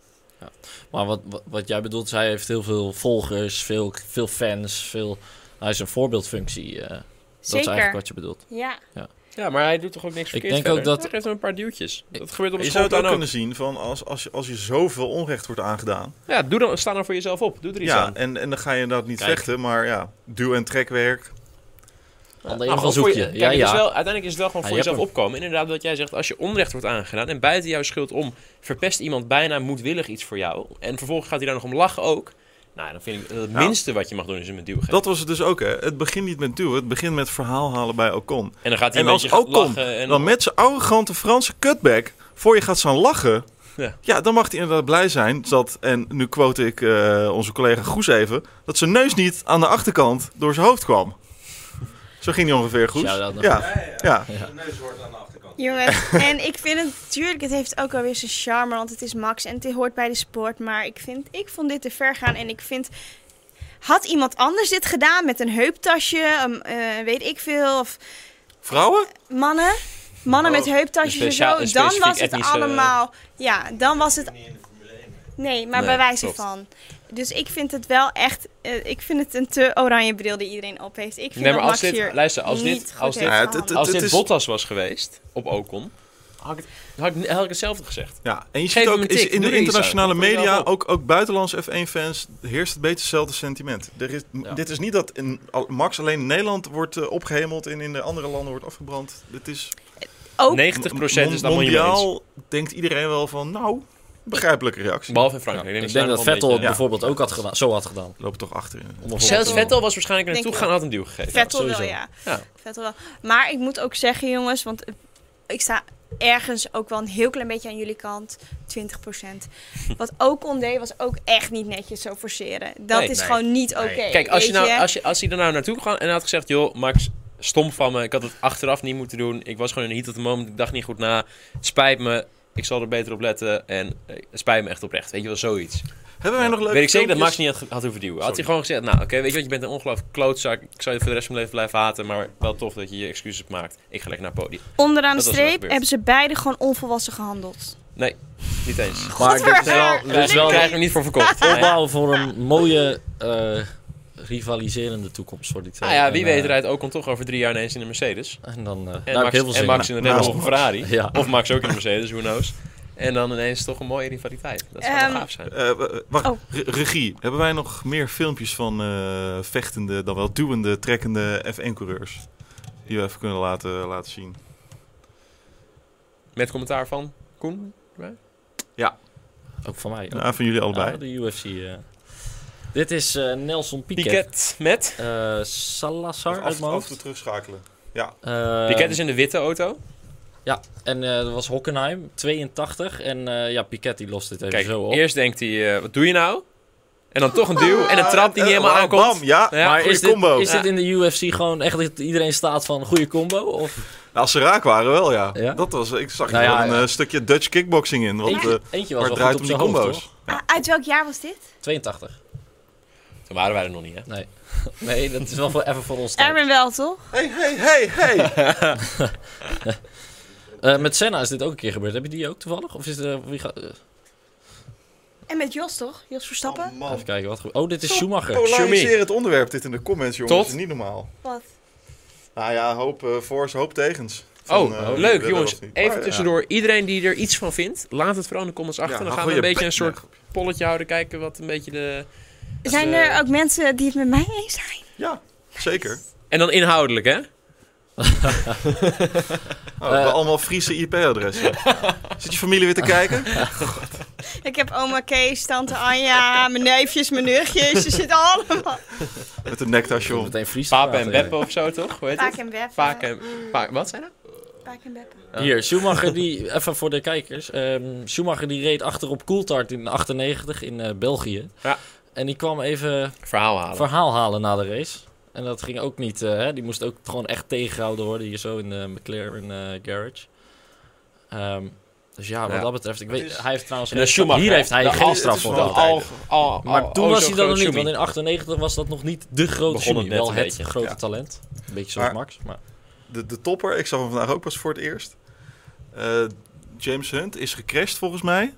C: Maar wat, wat, wat jij bedoelt, zij heeft heel veel volgers, veel, veel fans, veel... Hij is een voorbeeldfunctie. eh, dat is
D: Zeker.
C: eigenlijk wat je bedoelt.
D: Ja.
A: Ja, maar hij doet toch ook niks verkeerd
C: denk ook
A: verder?
C: dat-
A: Hij geeft hem een paar duwtjes. Dat gebeurt op
B: Je
A: een
B: zou het ook
A: schoolplein
B: kunnen zien van als, als, je, als je zoveel onrecht wordt aangedaan.
A: ook. Ja, doe dan, sta dan voor jezelf op. Doe er iets
B: Ja,
A: aan.
B: en, en dan ga je inderdaad niet
A: Kijk.
B: vechten, maar ja, duw- en trekwerk.
C: Ander
A: Nou, gewoon voor
C: invalshoekje.
A: je- kijk,
C: ja,
A: het is
C: ja.
A: wel, uiteindelijk is het wel gewoon
C: Ja,
A: voor
C: je
A: jezelf
C: hebt
A: opkomen. Inderdaad, wat jij zegt, als je onrecht wordt aangedaan en buiten jouw schuld om verpest iemand bijna moedwillig iets voor jou. En vervolgens gaat hij daar nog om lachen ook. Nou, dan vind ik het
B: Nou.
A: minste wat je mag doen is hem een duw geven.
B: Dat was het dus ook, hè. Het begint niet met duwen, het begint met verhaal halen bij Ocon.
A: en dan gaat hij
B: En
A: een
B: als
A: beetje
B: Ocon
A: lachen. En
B: Dan met zijn arrogante Franse cutback, voor je gaat staan lachen...
A: Ja.
B: Ja. dan mag hij inderdaad blij zijn dat, en nu quote ik eh, onze collega Goes even... dat zijn neus niet aan de achterkant door zijn hoofd kwam. Zo ging hij ongeveer, Goes.
C: Shout-out naar
B: ja, ja.
D: Jongens, en ik vind het, natuurlijk, het heeft ook alweer zijn charme, want het is Max en het hoort bij de sport. Maar ik, vind, ik vond dit te ver gaan en ik vind, had iemand anders dit gedaan met een heuptasje, een, eh, weet ik veel, of
B: Vrouwen?
D: mannen? Mannen
B: Oh,
D: met heuptasjes
A: een
D: en
A: speciaal-
D: zo,
A: een
D: dan
A: specifiek
D: was het
A: etnische-
D: allemaal... Ja, dan was het... Nee, maar
A: Nee,
D: bij wijze
A: klopt.
D: van. Dus ik vind het wel echt... eh, ik vind het een te oranje bril die iedereen op heeft. Ik vind
A: Nee, maar
D: dat
A: als
D: Max
A: dit,
D: hier
A: luister, als
D: niet
A: dit,
D: goed
A: als
D: heeft
A: dit,
B: Ja, het-
D: gehandeld.
B: het-
A: als
B: het
A: dit
B: is-
A: Bottas was geweest op Ocon, had ik, het- had ik, had ik hetzelfde gezegd.
B: Ja, en je
A: Geef
B: ziet
A: hem
B: ook
A: een
B: is
A: tik,
B: in
A: doe
B: de
A: er iets
B: internationale
A: aan. Kom je wel
B: media,
A: op.
B: ook, ook buitenlandse F1-fans, heerst het beetje hetzelfde sentiment. Er is, m-
C: Ja.
B: Dit is niet dat in, al- Max alleen in Nederland wordt eh, opgehemeld en in de andere landen wordt afgebrand. Dit is
A: 90%
D: Ook,
A: is
B: mon-
A: dan mondiaal.
B: mondiaal denkt iedereen wel van, nou, begrijpelijke reactie.
A: Behalve in
C: Ja,
A: Frankrijk.
C: ik
A: daar
C: denk dat
A: nog wel een
C: Vettel het
A: beetje-
C: bijvoorbeeld ook had gedaan, zo had gedaan.
B: Lopen toch achterin.
C: Om een
A: Zelfs
C: voorbeeld-
A: Vettel was waarschijnlijk er
D: Denk
A: naartoe
D: ik
A: gegaan en had hem duw gegeven.
D: Vettel wel,
C: sowieso.
D: ja.
A: Ja.
D: Vettel wel. Maar ik moet ook zeggen, jongens, want eh, ik sta ergens ook wel een heel klein beetje aan jullie kant. 20%. Wat Ocon deed, was ook echt niet netjes zo forceren. Dat
A: Nee,
D: is
C: nee,
D: gewoon niet
C: nee.
D: oké.
A: Kijk, als, je
D: weet
A: nou, als, je, als hij er nou naartoe kwam en had gezegd... joh, Max, stom van me. Ik had het achteraf niet moeten doen. Ik was gewoon in de heat of the moment. Ik dacht niet goed na. Het spijt me. Ik zal er beter op letten. En eh, het spijt me echt oprecht. Weet je wel, zoiets.
B: Hebben wij nog leuke
A: weet ik zeker dat Max
B: filmpjes?
A: niet had, had hoeven duwen. Had hij
B: Sorry.
A: gewoon gezegd... nou, oké, weet je wat? Je bent een ongelooflijk klootzak. Ik zal je voor de rest van mijn leven blijven haten. Maar wel tof dat je je excuses maakt. Ik ga lekker naar het podium.
D: Onderaan de
A: Dat was wel
D: streep
A: gebeurd.
D: hebben ze beide gewoon onvolwassen gehandeld.
A: Nee, niet eens.
C: Maar dit is wel,
D: Godver-
C: dit is wel
A: Krijgen we niet voor verkocht. Nee.
C: opbouwen voor een mooie eh, rivaliserende toekomst voor die twee.
A: Nou ja, wie
C: En, eh,
A: weet rijdt Ocon toch over drie jaar ineens in een Mercedes.
C: En dan eh
A: En
C: daar heb ik
A: Max,
C: heel veel zin
A: en Max
C: in.
A: in een Red Bull of
B: Naast
A: een Ferrari.
C: Ja.
A: Of Max ook in een Mercedes, who knows. En dan ineens toch een mooie rivaliteit. Dat zou
D: Ehm,
A: wel gaaf zijn.
B: Eh, w- wacht,
D: Oh.
B: re- regie. Hebben wij nog meer filmpjes van eh, vechtende, dan wel duwende, trekkende F1-coureurs? Die we even kunnen laten, laten zien.
A: Met commentaar van Koen?
C: Ook van mij.
B: Ja, van jullie allebei.
C: Ah, de UFC. eh. Dit is eh, Nelson Piquet.
A: Piquet met?
C: Eh, Salazar
B: Af,
C: uit mijn
B: af en
C: hoofd.
B: toe terugschakelen.
C: Eh,
A: Piquet is in de witte auto.
C: Ja, en eh dat was Hockenheim, 82. En eh, ja, Piquet die lost dit even
A: Kijk,
C: zo op.
A: eerst denkt hij, eh, wat doe je nou? En dan toch een duw en een trap die niet helemaal
B: Wauw,
A: aankomt.
B: Ah, eh, oh, Bam, ja.
A: Ja.
C: maar
B: goeie
C: is dit,
B: combo.
C: is dit
A: Ja.
C: in de UFC gewoon echt dat iedereen staat van een goede combo? Of
B: Nou, als ze raak waren wel, ja.
C: Ja?
B: Dat was, ik zag
C: Nou
B: er wel
C: ja,
B: een
C: ja.
B: eh, stukje Dutch kickboxing in. Want, eh,
C: eentje, eentje was
B: waar
C: wel
B: het
C: goed
B: draait
C: op
B: om die
C: zijn hoofd,
B: combo's.
C: toch?
D: Ah, Uit welk jaar was dit?
C: 82.
A: Toen waren wij er nog niet, hè?
C: Nee. nee, dat is wel voor, even voor ons tijd.
D: Erwin wel, toch?
B: Hey, hey, hey, hey.
C: Eh, met Senna is dit ook een keer gebeurd. Heb je die ook toevallig? Of is er, wie gaat, eh,
D: En met Jos, toch? Jos Verstappen?
C: even kijken wat ge- Oh, dit is
B: Zo
C: Schumacher.
B: Polariseer het onderwerp dit in de comments, jongens.
A: Tot?
B: Dat is niet normaal.
D: Wat?
B: Nou ja, hoop eh voor's, hoop tegens.
A: Oh,
B: eh, wie
A: leuk
B: willen
A: jongens.
B: of niet. Maar,
A: Even
B: ja.
A: tussendoor. Iedereen die er iets van vindt, laat het vooral in de comments achter.
B: Ja,
A: dan
B: hou
A: gaan we een
B: gewoon je
A: beetje een
B: bek-
A: soort polletje houden. Kijken wat een beetje de...
D: Zijn
A: eh,
D: er ook mensen die het met mij eens zijn?
B: Ja, zeker.
A: En dan inhoudelijk, hè?
B: Oh,
A: Eh,
B: we hebben allemaal Friese IP-adressen. Zit je familie weer te kijken?
D: Ik heb oma Kees, tante Anja, mijn neefjes, mijn nichtjes. Ze zitten allemaal.
B: Met een nektasje om.
C: Meteen Fries
A: Papen en
C: praten, ja.
A: Beppe of zo, toch? Hoe heet
D: Paak
A: het?
D: en Beppe.
A: Paak en... Paak- Wat nou? zijn dat?
D: Paak en Beppe.
B: Ja.
C: Hier, Schumacher die, even voor de kijkers. ehm, Schumacher die reed achter op Coulthard in 98 in eh, België.
A: Ja.
C: En die kwam even
A: Verhaal halen.
C: verhaal halen na de race. En dat ging ook niet, eh, hè? die moest ook gewoon echt tegengehouden worden hier zo in de McLaren eh, garage. Ehm, dus ja, wat
A: Ja.
C: dat betreft, ik weet,
B: is-
C: hij heeft trouwens
A: En
C: geen
A: de Schumacher, Nou,
C: hier heeft hij
A: de
C: geen
A: al-
C: straf
B: het is
C: voor.
A: Al,
B: wel- de
A: al,
B: tijden.
A: al,
C: Maar
A: al-
C: toen
A: oh,
C: was
A: zo
C: hij dat nog
A: groot
C: niet,
A: Schumi.
C: want in 98 was dat nog niet de grote
A: Begon
C: Schumi.
A: het net
C: Wel
A: een
C: het
A: beetje.
C: grote
B: Ja.
C: talent. Een beetje zoals
B: Maar-
C: Max. Maar
B: De, de topper, ik zag hem vandaag ook pas voor het eerst. Eh, James Hunt is gecrashed volgens mij.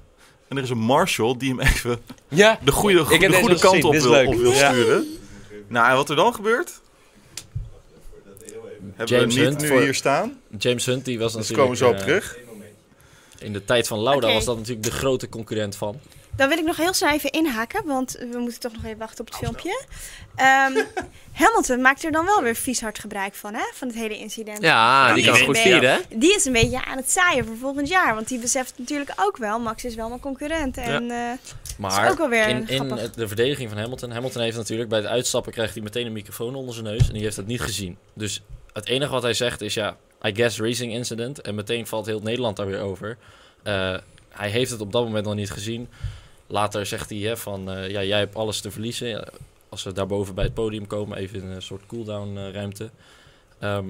B: En er is een marshal die hem even
A: Ja.
B: de goede,
A: heb
B: de
A: deze
B: goede
A: nog
B: kant
A: gezien,
B: op
A: dit is
B: wil,
A: leuk.
B: op wil
A: Ja.
B: sturen. Nou, en wat er dan gebeurt? Hebben
C: James
B: we niet
C: Hunt
B: nu
C: voor-
B: hier staan.
C: James Hunt, die was
B: Dus
C: natuurlijk...
B: komen we zo op
C: eh,
B: terug.
C: In de tijd van Lauda
D: Oké.
C: was dat natuurlijk de grote concurrent van.
D: Dan wil ik nog heel snel even inhaken, want we moeten toch nog even wachten op het filmpje. Ehm, Hamilton maakt er dan wel weer vies hard gebruik van, hè? Van het hele incident.
A: Ja, die
D: Die
A: kan
D: is
A: goed
D: een
A: vieren, hè?
D: Die is een beetje aan het zaaien voor volgend jaar. Want die beseft natuurlijk ook wel, Max is wel mijn concurrent. En eh,
C: Maar
D: is ook wel weer
C: in, in
D: grappig.
C: het- de verdediging van Hamilton. Hamilton heeft natuurlijk bij het uitstappen krijgt hij meteen een microfoon onder zijn neus. En die heeft dat niet gezien. Dus het enige wat hij zegt is ja, I guess racing incident. En meteen valt heel Nederland daar weer over. Eh, hij heeft het op dat moment nog niet gezien. Later zegt hij hè, van eh, ja, jij hebt alles te verliezen. Ja, als ze daarboven bij het podium komen, even in een soort cooldown eh, ruimte. Ehm,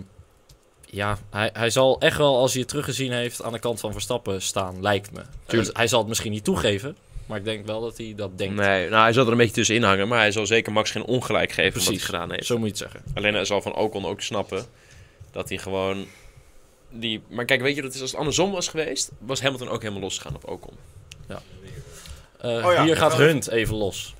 C: ja, hij, hij zal echt wel, als hij het teruggezien heeft, aan de kant van Verstappen staan, lijkt me. Dus
A: Tuurlijk.
C: Hij zal het misschien niet toegeven, maar ik denk wel dat hij dat denkt.
A: Nee, nou, hij zal er een beetje tussenin hangen. Maar hij zal zeker Max geen ongelijk geven van wat
C: Precies.
A: hij gedaan heeft.
C: Zo moet je het zeggen.
A: Alleen hij zal van Ocon ook snappen dat hij gewoon... Die... Maar kijk, weet je, dat is als het andersom was geweest... was Hamilton ook helemaal losgegaan op Ocon.
C: Eh,
B: Oh ja,
C: hier gaat
B: wel.
C: Hunt even los.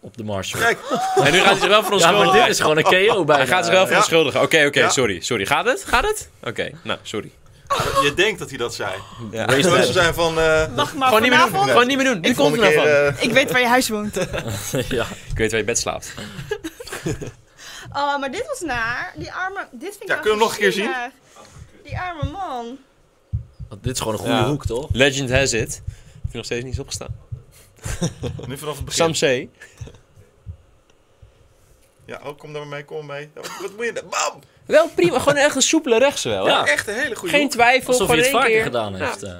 C: Op de Marshall.
B: Kijk,
A: En nu gaat hij zich wel
C: ja, maar
A: verontschuldigen.
C: dit is gewoon een KO bij.
A: Hij gaat zich wel
B: Ja.
A: verontschuldigen. Oké, oké,
B: Ja.
A: sorry, sorry. Gaat het? Gaat het? Oké, nou, sorry.
B: Ah, je denkt dat hij dat zei.
A: Ja.
C: Race
B: Terwijl Ze
C: dead.
B: zijn van... eh
D: wacht maar
A: Gewoon niet meer doen.
D: vanavond.
A: Gewoon niet meer doen. Nu komt
B: volgende
A: er nou
B: keer...
A: van.
B: eh,
D: Ik weet waar je huis woont.
C: ja.
A: Ik weet waar je bed slaapt.
D: Oh, maar dit was naar. Die arme. Dit vind ik
B: Ja,
D: nou
B: kunnen we nog een keer zien?
D: zielig. Die arme man.
C: Want dit is gewoon een goede
B: Ja.
C: hoek, toch?
A: Legend has it. Heb je nog steeds niet eens opgestaan?
B: eh, nu vanaf het begin.
A: Sam C.
B: Ja, oh, kom daar maar mee, kom mee. Oh, wat moet je... Bam!
A: Wel prima, gewoon echt een soepele rechtse wel. hè?
C: Ja.
B: Echt een hele goede
A: Geen twijfel,
C: Alsof hij
A: gewoon
C: het
A: één
C: vaker
A: keer.
C: gedaan
A: Ja.
C: heeft. eh.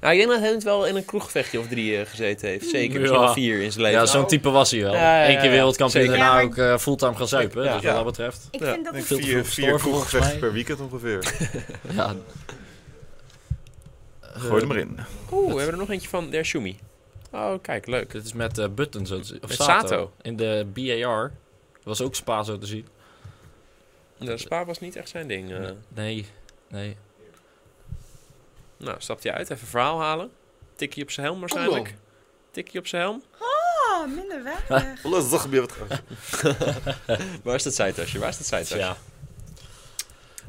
A: Nou, ik denk dat hij het wel in een kroegvechtje of drie eh, gezeten heeft. Zeker, misschien
C: Ja.
A: wel vier in zijn
C: Ja,
A: leven.
C: zo'n type was hij wel.
A: Ja, ja, ja,
C: Eén keer
A: ja.
C: wereldkampioen,
A: Zeker.
C: daarna
D: Ja, maar-
C: ook eh, fulltime gaan zuipen.
A: Ja.
C: Dus wat
B: Ja.
C: dat betreft.
D: Ik
A: Ja,
D: vind dat
B: Ik
D: het
C: veel
B: denk
C: te
B: vier,
C: vroeg
B: vier
C: gestorven, volgens
B: kroeggevechten
C: mij.
B: per weekend ongeveer.
C: Ja.
B: Gooi
C: Eh,
B: er maar in.
A: Oeh, we hebben er nog eentje van Der Shumi. Oh, kijk, leuk.
C: Dit is met eh, Button, zo te zien. Of
A: Met
C: Sato.
A: Sato.
C: In de BAR. Was ook Spa, zo te zien.
A: De spa was niet echt zijn ding. eh.
C: Nee, nee.
A: Nou, stapt hij uit, even verhaal halen. Tikkie op zijn helm waarschijnlijk. Tikkie op zijn helm.
D: Oh, minder weg.
B: Lastig gebeurt wat.
A: Waar is dat zijtasje? Waar is dat zijtasje?
C: Ja.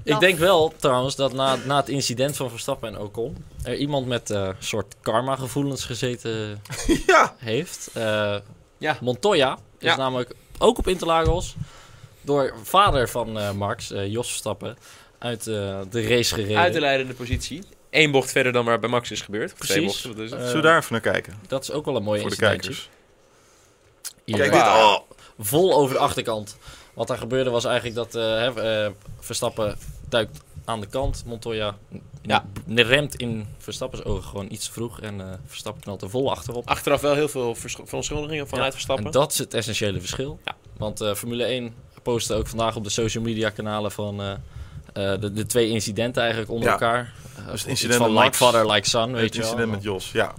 C: Ik denk wel trouwens dat na, na het incident van Verstappen en Ocon... er iemand met eh soort karma-gevoelens gezeten
B: Ja!
C: heeft. Eh,
A: Ja.
C: Montoya is
A: Ja.
C: namelijk ook op Interlagos door vader van eh, Max, eh, Jos Verstappen, uit eh, de race gereden.
A: Uit de leidende positie. Eén bocht verder dan waar bij Max is gebeurd. Of Twee
C: Precies.
A: bochten, wat is het?
C: Eh,
B: Zullen we daar even naar kijken?
C: Dat is ook wel een mooi
B: Voor de
C: incidentje.
B: kijkers.
C: Hier.
B: Kijk dit. Oh!
C: Vol over de achterkant. Wat daar gebeurde was eigenlijk dat eh, hè, eh, Verstappen duikt aan de kant. Montoya
A: Ja.
C: n- remt in Verstappen's ogen gewoon iets te vroeg. En eh, Verstappen knalt er vol achterop.
A: Achteraf wel heel veel vers- verontschuldigingen vanuit
C: Ja,
A: Verstappen.
C: En dat is het essentiële verschil.
A: Ja.
C: Want eh, Formule 1 postte ook vandaag op de social media kanalen van eh, eh, de, de twee incidenten eigenlijk onder
B: Ja.
C: elkaar. Eh,
B: het
C: iets
B: incident
C: van
B: met
C: like
B: Max,
C: father, like son, weet
B: Het
C: je wel.
B: incident met Jos, ja.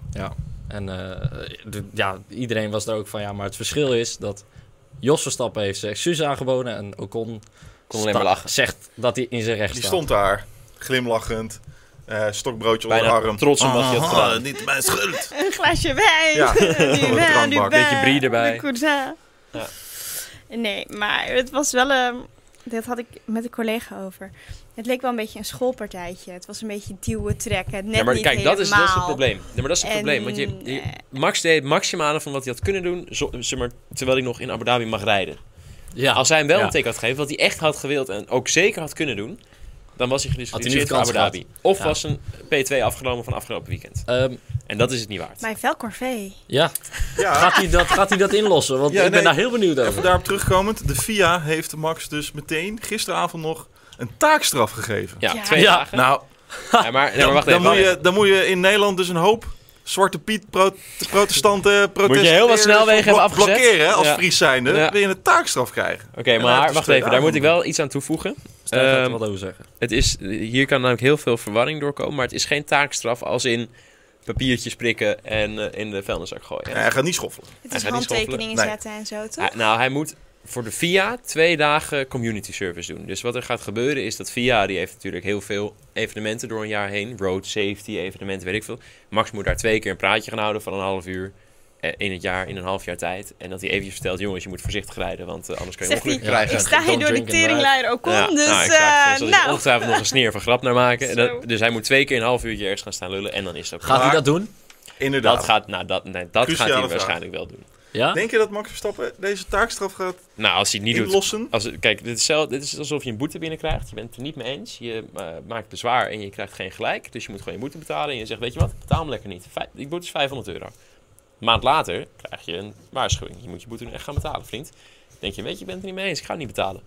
C: En eh, de- ja, iedereen was er ook van, ja, maar het verschil is dat Jos Verstappen heeft zijn excuses aangeboden en Ocon
A: Kon alleen
C: sta-
A: maar lachen.
C: zegt dat hij in zijn recht
B: Die
C: staat.
B: stond daar, glimlachend, eh, stokbroodje onder
A: Bijna
B: de arm.
A: trots op wat hij had
B: Aha,
A: gedaan.
B: Niet mijn schuld.
D: Een glaasje wijn.
B: Ja.
D: Die
B: drankbak.
D: wijn, die
B: Beetje
D: wijn,
A: brie erbij.
D: de cousin.
A: Ja.
D: Nee, maar het was wel een... Dat had ik met een collega over. Het leek wel een beetje een schoolpartijtje. Het was een beetje duwen, trekken. Net
A: ja, maar
D: niet
A: kijk, dat is, dat is het
D: helemaal.
A: probleem. Ja, maar dat is het
D: En,
A: probleem. Want je, je-
D: eh,
A: Max deed het maximale van wat hij had kunnen doen, zo- zeg maar, terwijl hij nog in Abu Dhabi mag rijden.
C: Ja,
A: Als hij hem wel
C: Ja.
A: een teken had gegeven, wat hij echt had gewild en ook zeker had kunnen doen, dan was hij gedisqualificeerd voor
C: kans
A: Abu Dhabi. Of
C: Ja.
A: was een P2 afgenomen van afgelopen weekend.
C: Ehm,
A: En dat is het niet waard.
D: Maar wel corvée.
C: ja.
B: Ja,
C: Gaat, hij dat, gaat hij dat inlossen? Want
B: Ah. Ja,
C: ik ben
B: nee.
C: daar heel benieuwd
B: even
C: over.
B: daarop terugkomend. De FIA heeft Max dus meteen gisteravond nog een taakstraf gegeven.
A: Ja,
D: Ja.
A: twee
C: Ja.
A: dagen.
B: Nou,
A: Ja, maar, nee, maar wacht
B: dan
A: even.
B: moet,
A: wacht
B: je, dan moet je in Nederland dus een hoop Zwarte Piet pro- protestanten
A: Moet
B: protesten.
A: je heel wat snelwegen hebben afgezet?
B: Blokkeren hè, als
A: Ja.
B: Fries zijnde,
A: Ja.
B: wil je een taakstraf
A: Oké,
B: krijgen. En hij heeft
A: maar
B: dus
A: wacht
B: twee
A: even. Daar moet ik
B: dagen.
A: wel iets aan toevoegen.
C: Stijn gaat er
A: Ehm,
C: wat over zeggen.
A: Het is, hier kan namelijk heel veel verwarring doorkomen, maar het is geen taakstraf als in papiertjes prikken en eh, in de vuilniszak gooien.
B: Ja, hij gaat niet schoffelen.
D: Het
A: Hij
D: is
A: gaat niet
D: handtekeningen
B: schoffelen. Nee.
D: zetten en zo, toch?
A: Ah, nou, hij moet voor de VIA twee dagen community service doen. Dus wat er gaat gebeuren is dat VIA, die heeft natuurlijk heel veel evenementen door een jaar heen. Road safety evenementen, weet ik veel. Max moet daar twee keer een praatje gaan houden van een half uur eh, in het jaar, in een half jaar tijd. En dat hij eventjes vertelt, jongens, je moet voorzichtig rijden, want eh, anders kan je
D: Zegt
A: ongeluk
D: hij,
A: krijgen.
D: ik sta hier
C: Don't
D: door die
C: drink and drive.
D: teringleider ook om,
A: Ja,
D: dus
A: nou,
D: nou...
A: exact. Dus dat is
D: nou.
A: ongetwijfd nog een sneer of een grap naar maken. En dat-
D: Zo.
A: dus hij moet twee keer een half uurtje ergens gaan staan lullen en dan is dat.
C: Gaat hij
B: Maar-
C: dat doen?
B: Inderdaad.
A: Dat gaat, nou, dat, nee, dat gaat
B: Cruciale
A: hij
B: vraag.
A: waarschijnlijk wel doen.
C: Ja?
B: Denk je dat Max Verstappen deze taakstraf gaat
A: Nou, als hij het niet doet,
B: inlossen?
A: Als, kijk, dit is, zelf, dit is alsof je een boete binnenkrijgt. Je bent het er niet mee eens. Je eh, maakt bezwaar en je krijgt geen gelijk. Dus je moet gewoon je boete betalen. En je zegt, weet je wat, betaal hem lekker niet. Vij- die boete is 500 euro. Een maand later krijg je een waarschuwing. Je moet je boete nu echt gaan betalen, vriend. Dan denk je, weet je, je bent het er niet mee eens. Ik ga het niet betalen.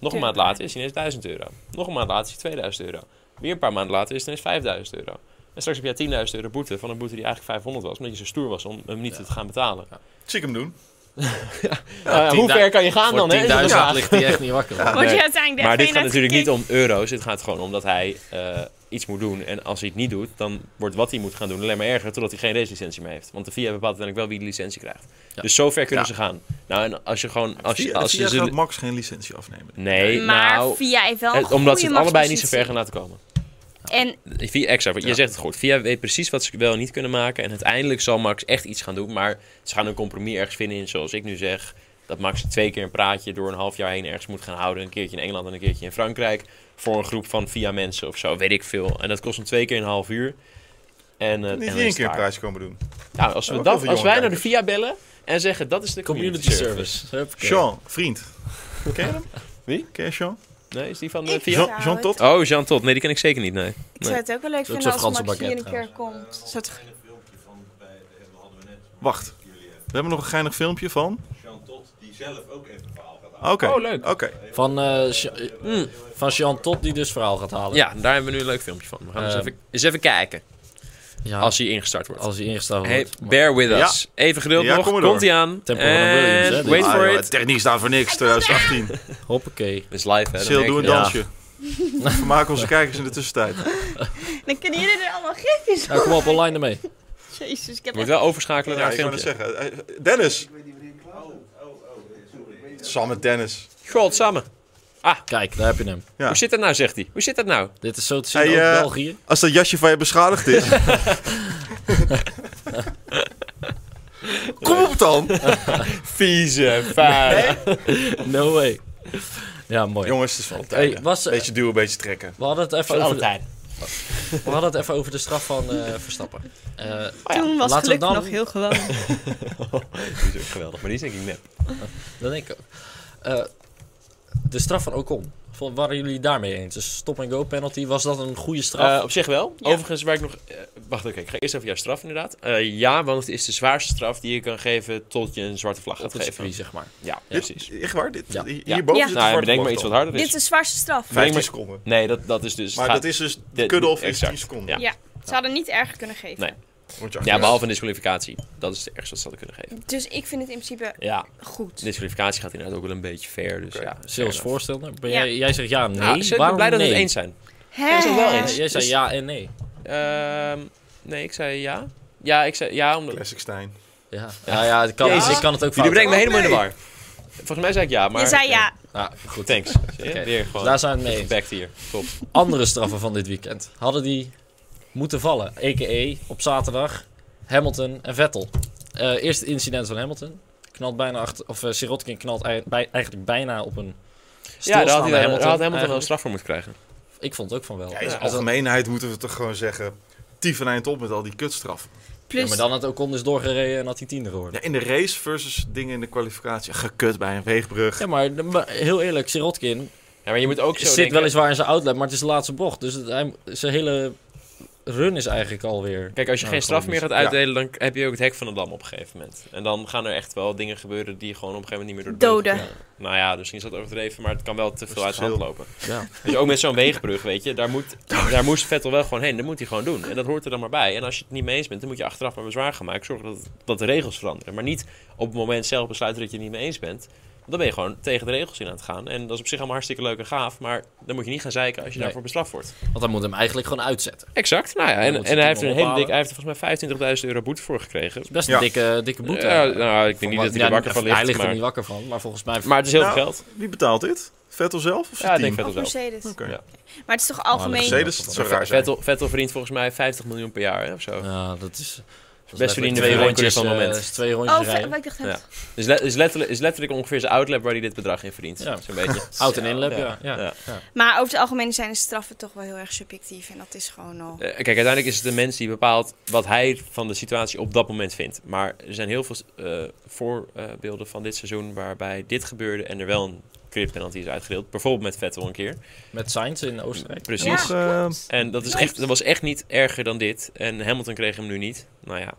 A: Nog een
D: Ja.
A: maand later is het ineens 1000 euro. Nog een maand later is het 2000 euro. Weer een paar maanden later is het ineens 5000 euro. En straks heb jij 10.000 euro boete van een boete die eigenlijk 500 was. Omdat je zo stoer was om hem niet te gaan betalen.
B: Zie ik hem doen.
A: Eh, hoe
C: 10.000
A: ver kan je gaan
C: Voor
A: dan? hè? Is
C: 10.000
A: dat de vraag.
C: ligt hij echt niet wakker. hoor.
D: Word je
A: Nee.
D: uiteindelijk de
A: Maar dit
D: FN
A: gaat natuurlijk niet
D: uitgekeken?
A: om euro's. Dit gaat gewoon om dat hij eh, iets moet doen. En als hij het niet doet, dan wordt wat hij moet gaan doen alleen maar erger. Totdat hij geen racelicentie meer heeft. Want de VIA bepaalt uiteindelijk wel wie de licentie krijgt.
C: Ja.
A: Dus zover kunnen
B: Ja.
A: ze gaan. Nou, en als je gewoon. Als je,
B: Via-
A: als je
B: via
A: ze-
B: gaat Max geen licentie afnemen.
A: nee,
D: Maar
A: nou.
D: via heeft wel een
A: eh, omdat ze
D: goede
A: het allebei niet zo ver
D: machtspositie.
A: gaan laten komen.
D: En
A: Via extra, want je
B: Ja.
A: zegt het goed. Via weet precies wat ze wel en niet kunnen maken. En uiteindelijk zal Max echt iets gaan doen. Maar ze gaan een compromis ergens vinden in, zoals ik nu zeg. Dat Max twee keer een praatje door een half jaar heen ergens moet gaan houden. Een keertje in Engeland en een keertje in Frankrijk. Voor een groep van via mensen of zo, weet ik veel. En dat kost hem twee keer een half uur. En, eh, en
B: Niet
A: dan
B: één
A: is
B: keer een
A: het daar.
B: prijs komen doen.
A: Nou, als,
B: Ja,
A: we
B: ook heel
A: dat,
B: veel
A: als wij
B: jonge
A: naar de
B: kijkers.
A: via bellen en zeggen dat is de community,
C: Community service. Huppakee.
B: Jean, vriend. Ken je hem?
A: Wie?
B: Ken je Jean?
A: Nee, is die van de
D: ik
A: via?
B: Jean-
D: zou
B: Jean
D: het-
B: Todt?
A: Oh, Jean Todt. Nee, die ken ik zeker niet, nee.
D: Ik zou het ook wel leuk
C: Ook
D: vinden
C: zo'n
D: als
C: Franse
D: Max hier
C: baguette
D: een keer komt. Soort-
B: Wacht. We hebben nog een geinig filmpje van.
E: Jean Todt, die zelf ook even een verhaal gaat
B: Oké.
A: Oh, leuk.
B: Oké.
C: Van, eh, Jean- eh, van Jean Todt die dus verhaal gaat halen.
A: Ja, daar hebben we nu een leuk filmpje van. We gaan eens,
C: Ehm.
A: even, eens even kijken
C: Ja,
A: Ah. als hij ingestart wordt.
C: als hij ingesteld
A: Hey,
C: wordt.
A: bear with
B: Ja.
A: us. Even geduld
B: Ja,
A: nog.
B: kom maar door.
A: Komt hij aan.
C: Tempo van een Williams, hè,
A: And
C: dit.
A: wait
B: Ah,
A: for
B: joh,
A: it.
B: Techniek staat voor niks, eh, 2018.
C: maar- Hoppakee.
A: Het is live, hè.
B: Sil, doe een
C: je. Ja.
B: dansje. Vermaak onze kijkers in de tussentijd.
D: Dan kunnen jullie er allemaal gifjes
C: Nou,
D: op.
C: kom op, online ermee.
D: Jezus, ik heb
A: Je moet
D: echt...
A: wel overschakelen
B: Ja,
A: naar
B: ik
A: een
B: kan het
A: filmpje. Oh,
B: zeggen. Eh, Dennis. Sam met Dennis.
A: God, samen.
C: Kijk, daar heb je hem.
B: Ja.
A: Hoe zit dat nou, zegt hij. Hoe zit dat nou?
C: Dit is zo te zien
B: Hey,
C: ook
B: eh,
C: België.
B: Als dat jasje van je beschadigd is. Kom op dan.
A: Vieze, vuil.
C: No way. Ja, mooi.
B: Jongens, het is van de
C: Hey,
B: tijd.
C: was, eh,
B: Beetje duwen, beetje trekken.
C: we, hadden het even over de,
A: tijd.
C: we hadden het even over de straf van eh, Verstappen. Eh,
D: Toen was
C: laten we
D: geluk
C: dan-
D: nog heel gewoon.
A: Die is ook geweldig, maar die is denk ik net.
C: dat denk ik ook. Eh, de straf van Ocon Vol- Waren jullie daarmee eens? Dus stop-and-go penalty, was dat een goede straf?
A: Eh, op zich wel.
D: Ja.
A: Overigens, waar ik nog. eh, wacht, oké, ik ga eerst over jouw straf inderdaad. Eh, ja, want het is de zwaarste straf die je kan geven tot je een zwarte vlag
C: op
A: gaat
C: het
A: geven.
C: circuit, zeg maar.
A: Ja,
C: Ja.
A: precies.
B: Echt waar? Dit,
C: Ja.
B: Hierboven
A: Ja.
D: Ja.
B: zit
A: Nou,
B: een
A: en bedenk maar iets wat harder
D: Dit
A: is.
D: is de zwaarste straf.
A: Bedenk
B: 15
A: maar-
B: seconden.
A: Nee, dat, dat is dus.
B: Maar
A: gaat-
B: dat is dus, de
A: dit-
B: cut-off is
A: exact.
B: 10 seconden.
A: Ja.
D: Ja. Ze hadden niet erger kunnen geven.
A: Nee.
B: Moet je achter-
A: Ja, behalve een disqualificatie. Dat is het ergste wat ze hadden kunnen geven.
D: Dus ik vind het in principe
A: Ja,
D: goed.
A: disqualificatie gaat inderdaad ook wel een beetje ver. Dus
B: Oké.
A: ja, fair
C: Sales
A: enough.
C: voorstellen. Ben
D: Ja.
C: jij, jij zegt ja, nee.
A: Nou, ik ben
C: Waarom
A: blij dat we
C: nee?
A: het eens zijn.
D: Hè?
A: is het wel
C: Nee,
A: eens.
C: jij zei
A: Dus-
C: ja en nee.
A: Ehm, nee, ik zei ja. Ja, ik zei ja, omdat...
B: Classic Stijn.
C: Ja, ja, ja het kan,
A: Jezus.
C: ik kan het ook
A: Jullie
C: fout
A: brengen me
B: Oh,
A: helemaal in de
B: nee.
A: war. Volgens mij zei ik ja, maar...
D: je zei ja.
C: doen. Ja, goed.
A: Thanks. Zie je?
C: Oké.
A: Weer
C: Dus
A: gewoon.
C: daar zijn we het mee eens.
A: Back hier. Top.
C: Andere straffen van dit weekend. Hadden die moeten vallen. A.k.a. op zaterdag Hamilton en Vettel. Eh eerst het incident van Hamilton. Knalt bijna achter, of eh, Sirotkin knalt ei- bij- eigenlijk bijna op een
A: Ja, daar had
C: stilstaande
A: hij helemaal daar had Hamilton wel een
C: eigenlijk.
A: straf voor moeten krijgen.
C: Ik vond ook van wel.
B: Ja, in
C: Ja,
B: zijn
C: dat-
B: algemeenheid moeten we toch gewoon zeggen... Tief en eind op met al die kutstraffen.
D: Plus,
C: Ja, maar dan had Ocon dus doorgereden en had hij tiende geworden.
B: Ja, in de race versus dingen in de kwalificatie. Gekut bij een weegbrug.
C: Ja, maar, maar heel eerlijk, Sirotkin
A: Ja, maar je moet ook zo
C: zit
A: denken-
C: weliswaar in zijn outlet, maar het is de laatste bocht. Dus het, hij- zijn hele run is eigenlijk alweer...
A: Kijk, als je
C: Nou,
A: geen straf
C: gewoon
A: meer
C: dus-
A: gaat uitdelen, dan k- heb je ook het hek van de dam op een gegeven moment. En dan gaan er echt wel dingen gebeuren die gewoon op een gegeven moment niet meer door de
D: doden.
C: Ja.
A: beugel- Nou ja, dus misschien is dat overdreven, maar het kan wel te
B: is
A: veel uit zijn hand lopen.
C: Ja.
A: Dus ook met zo'n weegbrug, weet je, daar, moet, daar moest Vettel wel gewoon heen. Dat moet hij gewoon doen. En dat hoort er dan maar bij. En als je het niet mee eens bent, dan moet je achteraf maar bezwaar gaan maken. Zorg dat, dat de regels veranderen. Maar niet op het moment zelf besluiten dat je het niet mee eens bent. Want Dan ben je gewoon tegen de regels in aan het gaan. En dat is op zich allemaal hartstikke leuk en gaaf. Maar dan moet je niet gaan zeiken als je
C: Nee.
A: daarvoor bestraft wordt.
C: Want hij moet hem eigenlijk gewoon uitzetten.
A: Exact. Nou ja,
C: Dan
A: en,
C: moet ze
A: en hij
C: het
A: heeft er een
C: allemaal
A: hele dik,
C: ophalen.
A: hij heeft er volgens mij 25.000 euro boete voor gekregen.
C: Het is best een
B: Ja.
C: dikke, dikke boete.
A: Ja, nou, ik denk niet dat hij er wakker van ligt.
C: Hij ligt
A: maar,
C: er niet wakker van, maar volgens mij...
A: maar het is heel
B: Nou,
A: veel geld.
B: Wie betaalt dit? Vettel zelf of zijn
A: Ja, ik
B: team?
A: denk Vettel
D: Of
A: zelf.
D: Mercedes.
B: Oké.
A: Ja.
D: Maar het is toch algemeen...
C: Mercedes-
B: Mercedes, dat zou raar zijn.
A: Vettel, Vettel verdient volgens mij 50 miljoen per jaar hè, of zo.
C: Ja, dat is...
A: Best verdiende verkoper van het
C: eh,
A: moment.
C: is twee rondjes
D: Oh,
C: rijden.
D: wat ik dacht net.
A: Dus le- is, letterlijk, is letterlijk ongeveer zijn outlap waar hij dit bedrag in verdient.
C: Ja.
A: Zo'n beetje.
C: Out en inlap, ja. ja.
A: Ja.
D: Maar over het algemeen zijn de straffen toch wel heel erg subjectief. En dat is gewoon al...
A: Eh, Kijk, uiteindelijk is het de mens die bepaalt wat hij van de situatie op dat moment vindt. Maar er zijn heel veel eh, voorbeelden van dit seizoen waarbij dit gebeurde en er wel een crippenalty is uitgedeeld. Bijvoorbeeld met Vettel een keer.
C: Met Sainz in Oostenrijk.
A: Precies.
B: Nog, eh,
A: En dat, is echt, dat was echt niet erger dan dit. En Hamilton kreeg hem nu niet. Nou ja.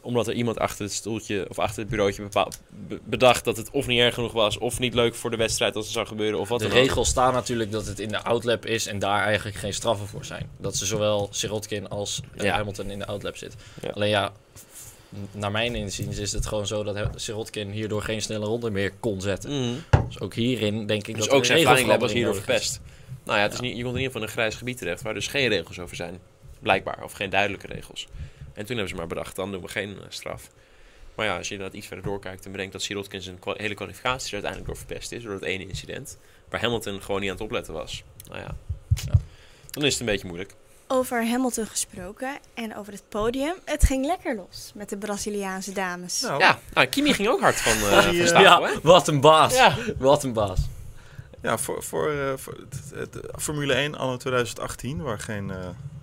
A: Omdat er iemand achter het stoeltje of achter het bureautje bepaal- be- bedacht dat het of niet erg genoeg was. Of niet leuk voor de wedstrijd als het zou gebeuren. Of wat
C: de
A: dan ook.
C: regels staan natuurlijk dat het in de outlap is en daar eigenlijk geen straffen voor zijn. Dat ze zowel Sirotkin als eh,
A: Ja.
C: Hamilton in de outlap zit.
A: Ja.
C: Alleen ja, n- naar mijn inziens is het gewoon zo dat He- Sirotkin hierdoor geen snelle ronde meer kon zetten.
A: Mhm.
C: Dus ook hierin denk ik
A: Dus
C: dat
A: ook
C: er
A: zijn
C: een
A: flying was
C: regelverandering
A: hierdoor
C: nodig is.
A: verpest. Nou ja, het is
C: Ja.
A: Niet, je komt in ieder geval in een grijs gebied terecht waar dus geen regels over zijn. Blijkbaar. Of geen duidelijke regels. En toen hebben ze maar bedacht, dan doen we geen eh, straf. Maar ja, als je inderdaad iets verder doorkijkt en bedenkt dat Sirotkin zijn kwa- hele kwalificatie er uiteindelijk door verpest is. Door dat ene incident. Waar Hamilton gewoon niet aan het opletten was. Nou ja.
C: Ja.
A: Dan is het een beetje moeilijk.
D: Over Hamilton gesproken en over het podium. Het ging lekker los met de Braziliaanse dames.
B: nou,
A: Ja, nou, Kimi ging ook hard van, eh
B: Die,
A: van
B: eh,
A: stapel, hè?
C: Oh. Ja, wat een baas.
A: Ja.
C: Wat een baas.
B: Ja, voor, voor, eh, voor het, het- het- Formule 1 anno 2018, waar geen, eh,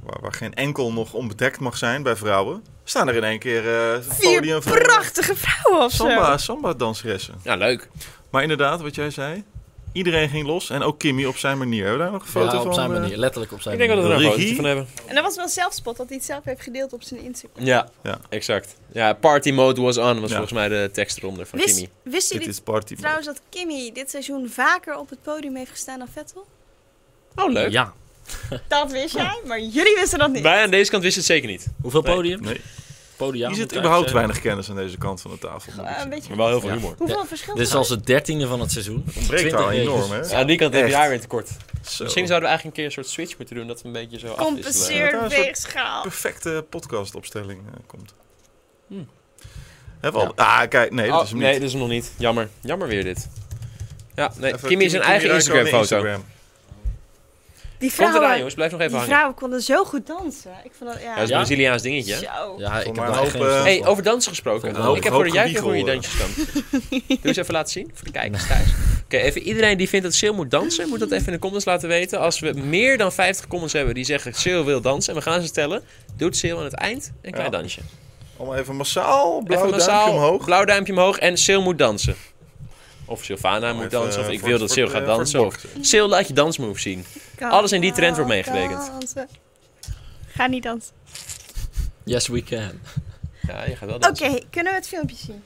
B: waar, waar geen enkel nog onbedekt mag zijn bij vrouwen, staan er in één keer eh, een
D: Vier
B: podium van
D: prachtige vrouwen of zo.
B: samba, samba danseressen.
A: Ja, leuk.
B: Maar inderdaad, wat jij zei, iedereen ging los en ook Kimmy op zijn manier. Hebben we daar nog een foto
C: ja, op
B: van?
C: zijn
B: eh?
C: manier. Letterlijk op zijn
A: Ik denk dat we
C: manier.
A: er een
B: Regie?
A: fotootje van hebben.
D: En dat was wel zelfspot dat hij het zelf heeft gedeeld op zijn Instagram.
A: Ja,
B: Ja.
A: exact. Ja, party mode was on was
B: Ja.
A: volgens mij de tekst eronder van
D: Wist,
A: Kimi.
D: wisten
B: Dit
D: jullie
B: is party.
D: trouwens dat Kimmy dit seizoen vaker op het podium heeft gestaan dan Vettel?
A: Oh, leuk.
C: Ja.
D: Dat wist jij, maar jullie wisten dat niet.
A: Wij aan deze kant wisten het zeker niet.
C: Hoeveel
A: Nee.
C: podium?
B: Nee,
C: Podia.
B: hier
C: moet
B: zit
C: ik
B: überhaupt
C: eigenlijk
B: weinig kennis aan deze kant van de tafel. moet ik
D: Eh, een
B: zeggen.
D: beetje.
A: Maar wel heel veel
C: Ja.
A: humor.
D: Hoeveel verschil?
C: zeggen. Dit is al zijn dertiende van het seizoen.
B: Breekt daar
C: 20
B: enorm, hè?
C: regels.
A: aan die kant heb je
B: Echt.
A: daar weer tekort.
B: Zo.
A: Misschien zouden we eigenlijk een keer een soort switch moeten doen. Dat we een beetje zo afwisselen.
B: Ja,
D: Compenseer
B: dat is een
D: weegschaal.
B: perfecte podcastopstelling eh, komt.
A: Hm.
B: Hebben we al... Ah, kijk, nee, dat
A: Oh,
B: is hem niet.
A: nee, dat is hem nog niet. Jammer. Jammer weer dit. Ja, nee.
B: Even
A: Kimmy is een eigen
B: Räikkönen
A: Instagram-foto.
B: Instagram.
D: Die
A: Komt eraan,
D: vrouwen,
A: jongens. Blijf nog
D: die
A: even hangen.
D: vrouwen konden zo goed dansen. Ik vond dat,
A: Ja,
D: ja.
A: dat is een
C: Ja?
A: Braziliaans dingetje. hè?
D: Zo.
C: Ja, ik
B: maar
C: heb daar
B: een
C: echt
B: hoop,
C: geen verstand
B: eh,
A: Hey, oh.
C: van.
A: over dansen gesproken.
B: Een hoop-
A: ik heb voor de
B: hoop
A: jij keer hoe je
B: gewiegel,
A: dansjes kan. Doe eens even laten zien voor de kijkers thuis. Oké, even iedereen die vindt dat Sil moet dansen, moet dat even in de comments laten weten. Als we meer dan 50 comments hebben die zeggen Sil wil dansen en we gaan ze tellen, doet Sil aan het eind een klein
B: Ja.
A: dansje.
B: Allemaal even massaal, blauw
A: Even
B: duimpje
A: massaal,
B: omhoog.
A: blauw duimpje omhoog en Sil moet dansen. Of Sylvana moet
B: Even,
A: dansen. Of
B: eh,
A: ik
B: voor
A: wil
B: het-
A: dat
B: voor
A: Sil
B: het,
A: gaat
B: eh, voor
A: dansen. Of
B: het bord.
A: Sil, laat je dansmove zien.
D: Kan
A: Alles in die trend wordt meegerekend.
D: dansen. Ga niet dansen.
C: Yes, we can.
A: Ja, je gaat wel
D: Oké,
A: dansen.
D: kunnen we het filmpje zien?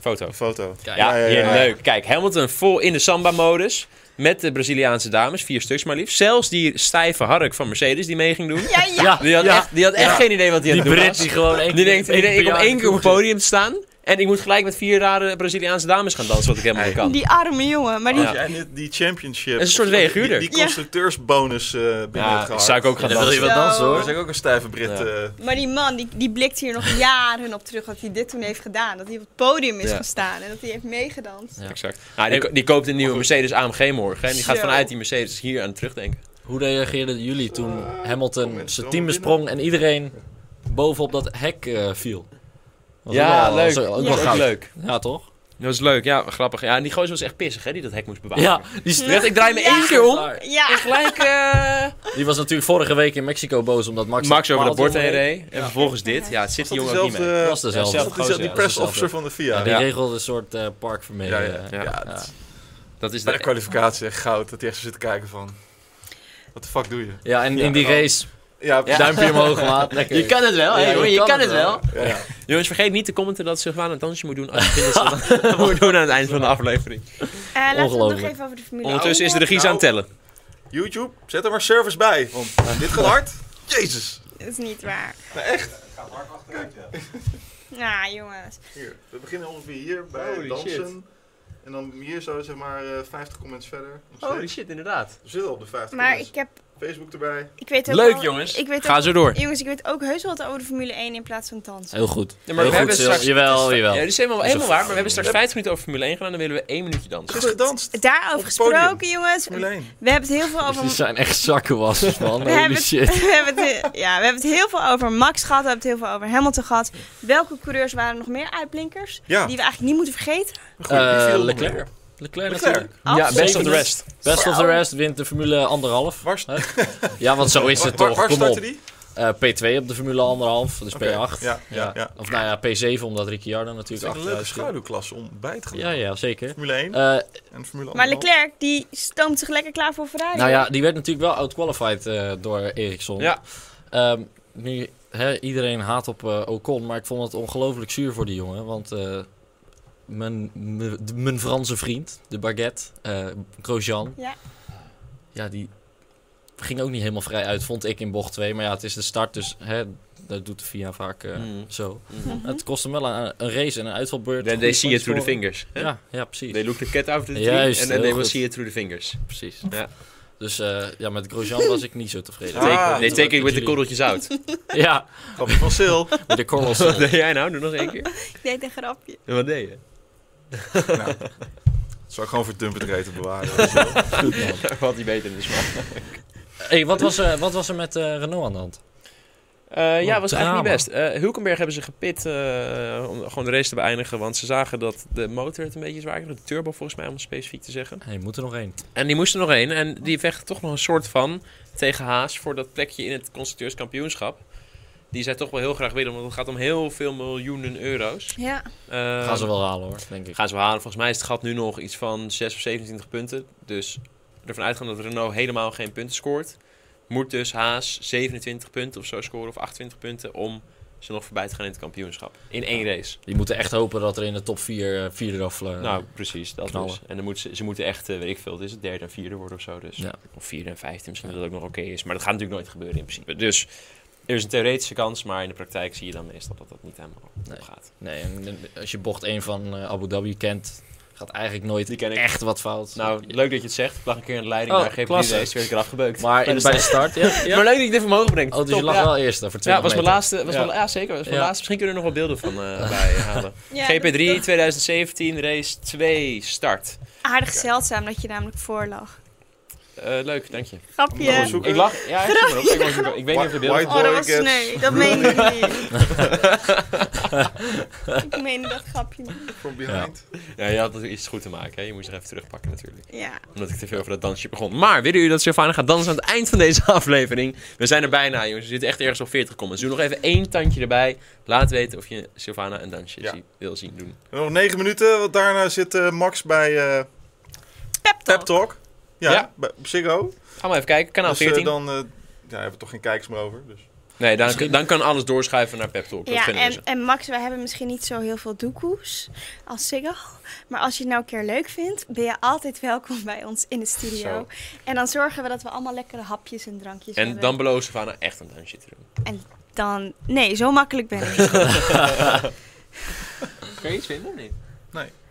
A: Foto.
B: Een foto.
A: Ja,
B: Ja, ja, ja.
A: hier, leuk. Kijk, Hamilton vol in de samba-modus. Met de Braziliaanse dames, vier stuks maar liefst. Zelfs die stijve hark van Mercedes die mee ging doen.
D: Ja, ja.
C: Ja,
A: Die had
C: ja.
A: echt, die had echt
C: Ja.
A: geen idee wat hij aan het
C: Die
A: doen
C: Brit
A: was.
C: die gewoon één
A: Die denkt, ik, ik kom
C: per jaar
A: één keer op het
C: koers
A: podium te staan. En ik moet gelijk met vier rare Braziliaanse dames gaan dansen, wat ik helemaal niet kan.
D: Die arme jongen. Maar die...
A: Ja.
B: Ja, en die- die championship.
A: Dat is een soort
B: die-
A: reaguurder.
B: Die, die
D: Ja.
B: constructeursbonus eh binnen
A: Ja, zou ik ook gaan
C: Ja, dan wil je wel
D: Zo.
C: dansen
B: Dat is
C: hoor.
B: ook een stijve Brit.
A: Ja.
B: eh,
D: Maar die man, die, die blikt hier nog jaren op terug dat hij dit toen heeft gedaan. Dat hij op het podium is
A: Ja.
D: gestaan en dat hij heeft meegedanst.
C: Ja.
A: Exact. Nou, die, ko- die koopt een nieuwe Mercedes AMG morgen. En die gaat
D: Zo.
A: vanuit die Mercedes hier aan terugdenken.
C: Hoe reageerden jullie toen Hamilton
B: mensen,
C: zijn
B: allemaal
C: team besprong en iedereen bovenop dat hek eh, viel? Was
A: Ja,
C: ook wel-
A: leuk.
C: was ook wel
A: Dat was ook
C: goud.
A: leuk.
C: Ja, toch?
A: Dat was leuk, ja, grappig. Ja, en die gozer was echt pissig, hè, die dat hek moest bewaren.
C: Ja, die,
A: Die
C: st-
A: dacht, ik draai me
D: Ja.
A: één keer om.
C: Klaar.
D: Ja,
A: Gelijk, eh,
C: die was natuurlijk vorige week in Mexico boos omdat Max,
A: Max over dat
C: paalt
A: bord heen
C: omreed.
A: reed. En vervolgens dit. Ja, het zit
B: was dat
A: die jongen ook niet
B: diezelfde-
A: mee.
B: eh,
C: was dezelfde.
B: was
A: Ja,
B: dat
A: gozer,
B: die-
A: ja,
B: die
A: dat
C: is
B: press officer
C: hetzelfde.
B: van de
C: Ja,
B: FIA.
C: die
A: Ja.
C: regelde een soort eh park voor mee.
B: Ja, ja,
C: eh,
A: ja.
B: Ja,
C: ja.
B: het-
A: Dat is
B: Bij de
A: de...
B: kwalificatie echt goud. Dat hij echt zo zit te kijken van... Wat de fuck doe je?
C: Ja, en in die
B: Ja, dan-
C: race,
B: Ja,
C: duimpje omhoog, maat. Lekker.
A: kan het wel,
C: hè, Ja, je jongen, je kan kan het het wel.
B: Ja, ja.
A: Jongens, vergeet niet te commenten dat Sylvana een dansje moet doen als je vindt dat ze dat moet doen aan het eind van de aflevering.
D: Eh, laten we het
C: Ongelooflijk.
D: nog even over de familie
A: Ondertussen is de regie aan het tellen.
B: YouTube, zet er maar service bij. Want dit gaat hard. Jezus.
D: Dat is niet waar.
E: Het gaat hard achteruit, ja.
D: Nou, jongens.
B: Hier, we beginnen ongeveer hier bij
A: Holy
B: dansen.
A: shit.
B: En dan hier zo zeg maar eh, 50 comments verder. Nog steeds.
A: shit, inderdaad.
B: We zitten op de 50
D: Maar
B: comments.
D: ik heb...
B: Facebook erbij.
D: Ik weet ook
A: Leuk,
D: wel-
A: jongens.
D: Ik weet
A: Ga
D: ook,
A: zo door.
D: jongens, ik weet ook heus wel wat over de Formule 1 in plaats van dansen.
C: Heel goed.
A: Ja, maar we
C: Heel goed,
A: hebben
C: Sil.
A: straks-
C: Jawel,
A: Ja,
C: jawel.
A: dit is helemaal,
C: is
A: helemaal
C: een-
A: waar, maar we hebben straks 50 minuten over Formule 1 gedaan. Dan willen we één minuutje dansen.
B: Goed gedanst.
D: Daarover
B: Op het podium.
D: gesproken, jongens.
B: Formule
D: We
B: 1.
D: hebben het heel veel
C: Die
D: over...
C: zijn echt zakkenwassers, man.
D: We hebben,
C: Holy
D: het,
C: shit.
D: we, hebben het, he- ja, we hebben het heel veel over Max gehad. We hebben het heel veel over Hamilton gehad. Welke coureurs waren er nog meer uitblinkers?
B: Ja,
D: Die we eigenlijk niet moeten vergeten.
C: Eh,
B: die viel
C: Leclerc. Leclerc natuurlijk.
A: Ja, best of
C: Zeker
A: the
C: niet.
A: rest.
C: Best of
D: Zo.
C: the rest wint de Formule anderhalf.
B: Waar-
C: Hè? Ja, want zo is
B: Waar,
C: het
B: waar,
C: toch.
B: waar
C: Kom
B: startte
C: op.
B: die?
C: Eh, P2 op de Formule anderhalf, dus
B: Oké,
C: P8.
B: ja, ja, ja.
C: Of nou ja, P7 omdat Ricciardo
B: Het is echt
C: natuurlijk
B: een leuke
C: achteruit viel.
B: schaduwklasse om bij te gaan.
C: Ja, ja, zeker.
B: Formule 1
C: Eh,
B: en Formule 1.
D: Maar Leclerc, die stoomt zich lekker klaar voor Ferrari.
C: nou ja, die werd natuurlijk wel outqualified eh door Ericsson.
A: Ja.
C: Ehm, nu, hè, iedereen haat op eh, Ocon, maar ik vond het ongelooflijk zuur voor die jongen. Want eh, mijn, mijn- de- mijn Franse vriend, de baguette, eh Grosjean,
D: Ja.
C: ja, die ging ook niet helemaal vrij uit, vond ik in bocht 2. Maar ja, het is de start, dus hè, dat doet de VIA vaak eh,
A: Mm.
C: zo.
D: Mhm.
C: Het kost hem wel een, een race en een uitvalbeurt.
A: Then they
C: Goede
A: see it through the
C: scoren.
A: fingers. hè?
C: Ja, ja, precies.
A: They look the cat out of the tree
C: Juist,
A: and then
C: heel
A: they will
C: goed.
A: see it through the fingers.
C: precies.
A: Ja.
C: Dus eh, ja, met Grosjean was ik niet zo tevreden.
B: Ah,
A: They take- they
C: dat
A: take it
C: doen
A: with the
C: jullie.
A: korreltjes out.
C: Ja,
B: Grapje van Sil.
C: met de korrels.
A: Wat deed jij nou? Doe nog eens één keer.
D: Ik deed een grapje.
A: En wat deed je?
B: nou, dat zou ik gewoon voor Dumpert reten bewaren.
A: Wat die beter in de smaak.
C: Hey, wat, was er, wat was er met eh, Renault aan de hand?
A: Eh, ja,
C: Wat
A: was
C: drama.
A: eigenlijk niet best. Eh Hulkenberg hebben ze gepit eh, om gewoon de race te beëindigen. Want ze zagen dat de motor het een beetje zwaar kreeg. De turbo volgens mij, om het specifiek te zeggen.
C: Hey, moet er nog één.
A: En die moesten nog één. En die vechten toch nog een soort van tegen Haas voor dat plekje in het constructeurskampioenschap. Die zij toch wel heel graag willen, want het gaat om heel veel miljoenen euro's.
D: Ja.
A: Eh,
C: Gaan ze wel halen hoor, denk ik.
A: gaan ze wel halen. Volgens mij is het gat nu nog iets van 6 of 27 punten. Dus ervan uitgaan dat Renault helemaal geen punten scoort. Moet dus Haas 27 punten of zo scoren of 28 punten om ze nog voorbij te gaan in het kampioenschap. In één race.
C: Die moeten echt hopen dat er in de top 4 eh vier eraf... eh,
A: nou, precies. Dat
C: knallen.
A: dus. En dan moeten ze, ze moeten echt, eh, weet ik veel, het is het derde en vierde worden of zo dus.
C: Ja.
A: Of vierde en vijfde, misschien dat dat ook nog oké is. Maar dat gaat natuurlijk nooit gebeuren in principe. Dus er is een theoretische kans, maar in de praktijk zie je dan meestal dat dat niet helemaal
C: Nee.
A: gaat.
C: Nee, en, en als je bocht 1 van eh, Abu Dhabi kent, gaat eigenlijk nooit
A: Die ken ik.
C: echt wat fout.
A: Nou, leuk dat je het zegt. Ik lag een keer in de leiding
C: Oh,
A: naar GP race,
C: klasse.
A: toen werd ik eraf gebeukt.
C: maar
A: Bij
C: in,
A: de
C: bij de start, ja. ja.
A: Maar leuk dat je dit omhoog brengt.
C: Oh, dus je
A: Top,
C: lag
A: ja.
C: wel eerst daar voor
A: Ja,
C: 20
A: was mijn
C: meter.
A: laatste. Was
C: Ja.
A: ja. Mijn, ja, zeker. Was mijn
C: Ja.
A: laatste. Misschien kunnen we er nog wel beelden van eh bij halen.
D: Ja,
A: GP3
D: dat-
A: 2017, race 2, start.
D: Aardig zeldzaam dat je namelijk voorlag.
A: Eh, leuk, dank je.
D: Grapje.
B: Nou, zoek-
A: Ik lach. Ja, ik, zie me op. Ik, word- ik weet niet of de beeld...
B: White
D: Oh, dat
B: boy
D: was...
B: gets
D: Nee, dat meen ik niet. ik meen dat grapje niet.
B: From behind.
A: Ja, je had er iets goed te maken. Hè? Je moest er even terugpakken natuurlijk.
D: Ja.
A: Omdat ik te veel over dat dansje begon. Maar willen jullie dat Sylvana gaat dansen aan het eind van deze aflevering? We zijn er bijna, jongens. We zitten echt ergens op 40 comments. Doe nog even één tandje erbij. Laat weten of je Sylvana een dansje
B: Ja.
A: zie- wil zien doen.
B: Nog negen minuten, want daarna zit eh, Max bij eh,
D: Pep
B: Pep
D: talk.
B: Talk. Ja,
A: Ja.
B: bij Ziggo.
A: Ga maar even kijken. Kanaal
B: dus eh,
A: 14.
B: dan eh, ja, hebben we toch geen kijkers meer over. Dus.
A: Nee, dan, dan kan alles doorschuiven naar Pep Talk. Dat
D: Ja,
A: vinden we
D: en, en Max, wij hebben misschien niet zo heel veel doekoes als Siggo. Maar als je het nou een keer leuk vindt, ben je altijd welkom bij ons in de studio.
A: Zo.
D: En dan zorgen we dat we allemaal lekkere hapjes en drankjes
A: zo. En
D: hebben.
A: dan belooft Sylvana nou, echt een dansje te doen.
D: Dan- Nee, zo makkelijk ben ik niet.
A: Kun je iets vinden of niet?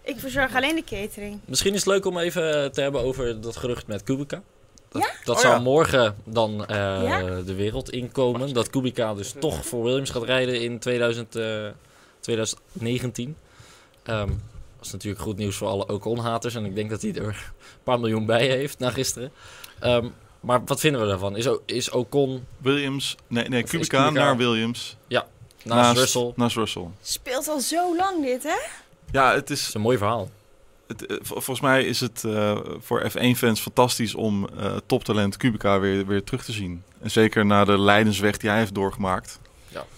D: Ik verzorg alleen de catering.
C: Misschien is het leuk om even te hebben over dat gerucht met Kubica. Dat,
D: Ja?
C: dat
B: Oh,
C: zou
B: ja.
C: morgen dan eh,
D: Ja?
C: de wereld inkomen. Dat Kubica dus toch voor Williams gaat rijden in 2000, eh, 2019. Ehm, dat is natuurlijk goed nieuws voor alle Ocon-haters. En ik denk dat hij er een paar miljoen bij heeft na gisteren. Ehm, maar wat vinden we daarvan? Is, O- is Ocon
B: Williams, nee, nee,
C: Of is
B: Kubica,
C: Kubica-
B: naar Williams.
C: naast, Russell... Dat
B: Naast Russell.
D: Speelt al zo lang dit, hè?
B: Ja, het is,
C: is een mooi verhaal.
B: het, eh, vol- volgens mij is het eh, voor F1-fans fantastisch om eh, toptalent Kubica weer, weer terug te zien. En zeker na de leidensweg die hij heeft doorgemaakt.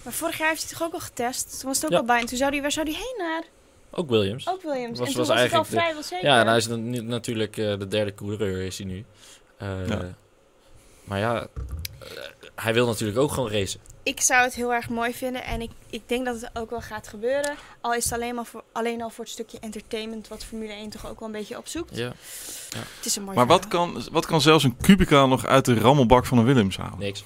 D: Maar vorig jaar heeft hij toch ook al getest? Toen was het ook
C: Ja.
D: al bijna. Toen zou hij, waar zou hij heen naar?
C: Ook Williams.
D: Ook Williams.
C: Was-
D: en toen
C: was
D: was, het al
C: eigenlijk de-
D: vrijwel zeker.
C: Ja, en hij is dan niet- natuurlijk eh, de derde coureur is hij nu. Eh,
B: Ja.
C: Maar ja, eh, hij wil natuurlijk ook gewoon racen.
D: Ik zou het heel erg mooi vinden en ik, ik denk dat het ook wel gaat gebeuren. Al is het alleen, maar voor, alleen al voor het stukje entertainment wat Formule 1 toch ook wel een beetje opzoekt.
C: Ja.
D: Het is een mooi
B: Maar wat
D: verhaal.
B: kan, wat kan zelfs een Kubica nog uit de rammelbak van een Williams halen?
C: Niks.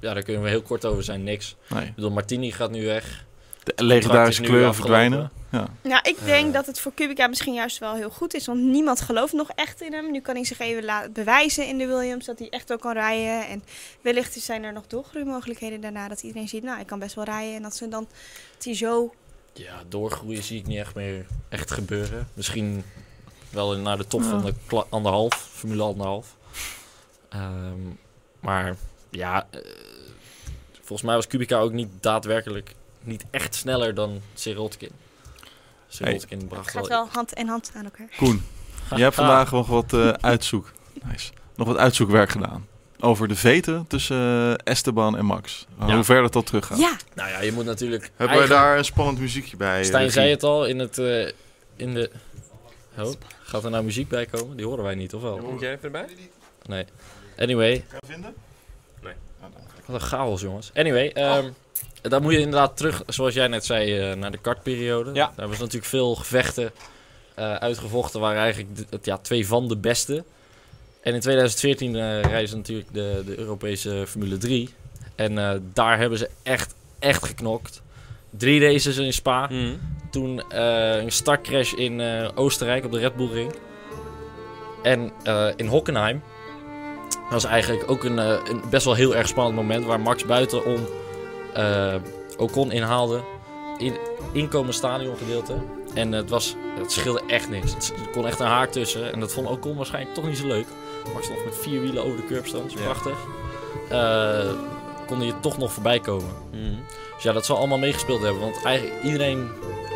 C: Ja, daar kunnen we heel kort over zijn. Niks.
B: Nee.
C: Ik bedoel, Martini gaat nu weg.
B: De legendarische
C: nu
B: kleuren
C: afgelopen.
B: verdwijnen. Ja.
D: Nou, ik denk
C: Eh.
D: dat het voor Kubica misschien juist wel heel goed is. Want niemand gelooft nog echt in hem. Nu kan hij zich even laten bewijzen in de Williams dat hij echt ook kan rijden. En wellicht zijn er nog doorgroeimogelijkheden daarna. Dat iedereen ziet, nou, hij kan best wel rijden. En dat ze dan dat hij zo...
C: Ja, doorgroeien zie ik niet echt meer echt gebeuren. Misschien wel naar de top van de kla- anderhalf, Formule anderhalf. Ehm, maar ja, eh, volgens mij was Kubica ook niet daadwerkelijk, niet echt sneller dan Sirotkin. Sirotkin bracht
D: Gaat
C: wel
D: wel hand in hand aan elkaar.
B: Koen, je hebt vandaag nog wat eh, uitzoek. Nice. Nog wat uitzoekwerk gedaan. Over de veten tussen eh, Esteban en Max. Uh,
C: Ja.
B: Hoe ver dat dat teruggaat.
D: Ja,
C: Nou ja, je moet natuurlijk.
B: Hebben wij
C: eigenlijk-
B: daar een spannend muziekje bij?
C: Stijn
B: regie?
C: zei het al in het. eh, in de... Oh, gaat er nou muziek bij komen? Die horen wij niet, of wel?
A: Moet jij even erbij?
C: Nee. Anyway,
B: Kan je het vinden?
A: Nee.
B: Nou, dan ga ik-
C: wat een chaos, jongens. Anyway, ehm dan moet je inderdaad terug, zoals jij net zei, eh, naar de kartperiode.
A: Ja.
C: Daar was natuurlijk veel gevechten eh, uitgevochten, waren eigenlijk de- het, ja, twee van de beste. En in 2014 eh rijden ze natuurlijk de, de Europese Formule 3. En eh, daar hebben ze echt, echt geknokt. Drie races in Spa.
A: Hmm.
C: Toen eh, een startcrash in eh, Oostenrijk op de Red Bull Ring. En eh, in Hockenheim was eigenlijk ook een, eh, een best wel heel erg spannend moment waar Max buitenom eh Ocon inhaalde. In, inkomen stadiongedeelte. En het, was, het scheelde echt niks. Het, er kon echt een haak tussen. En dat vond Ocon waarschijnlijk toch niet zo leuk. Max nog met vier wielen over de curb stond. Dat
A: Ja.
C: is prachtig. Eh kon hij er toch nog voorbij komen.
A: Mhm.
C: Dus ja, dat zal allemaal meegespeeld hebben. Want eigenlijk iedereen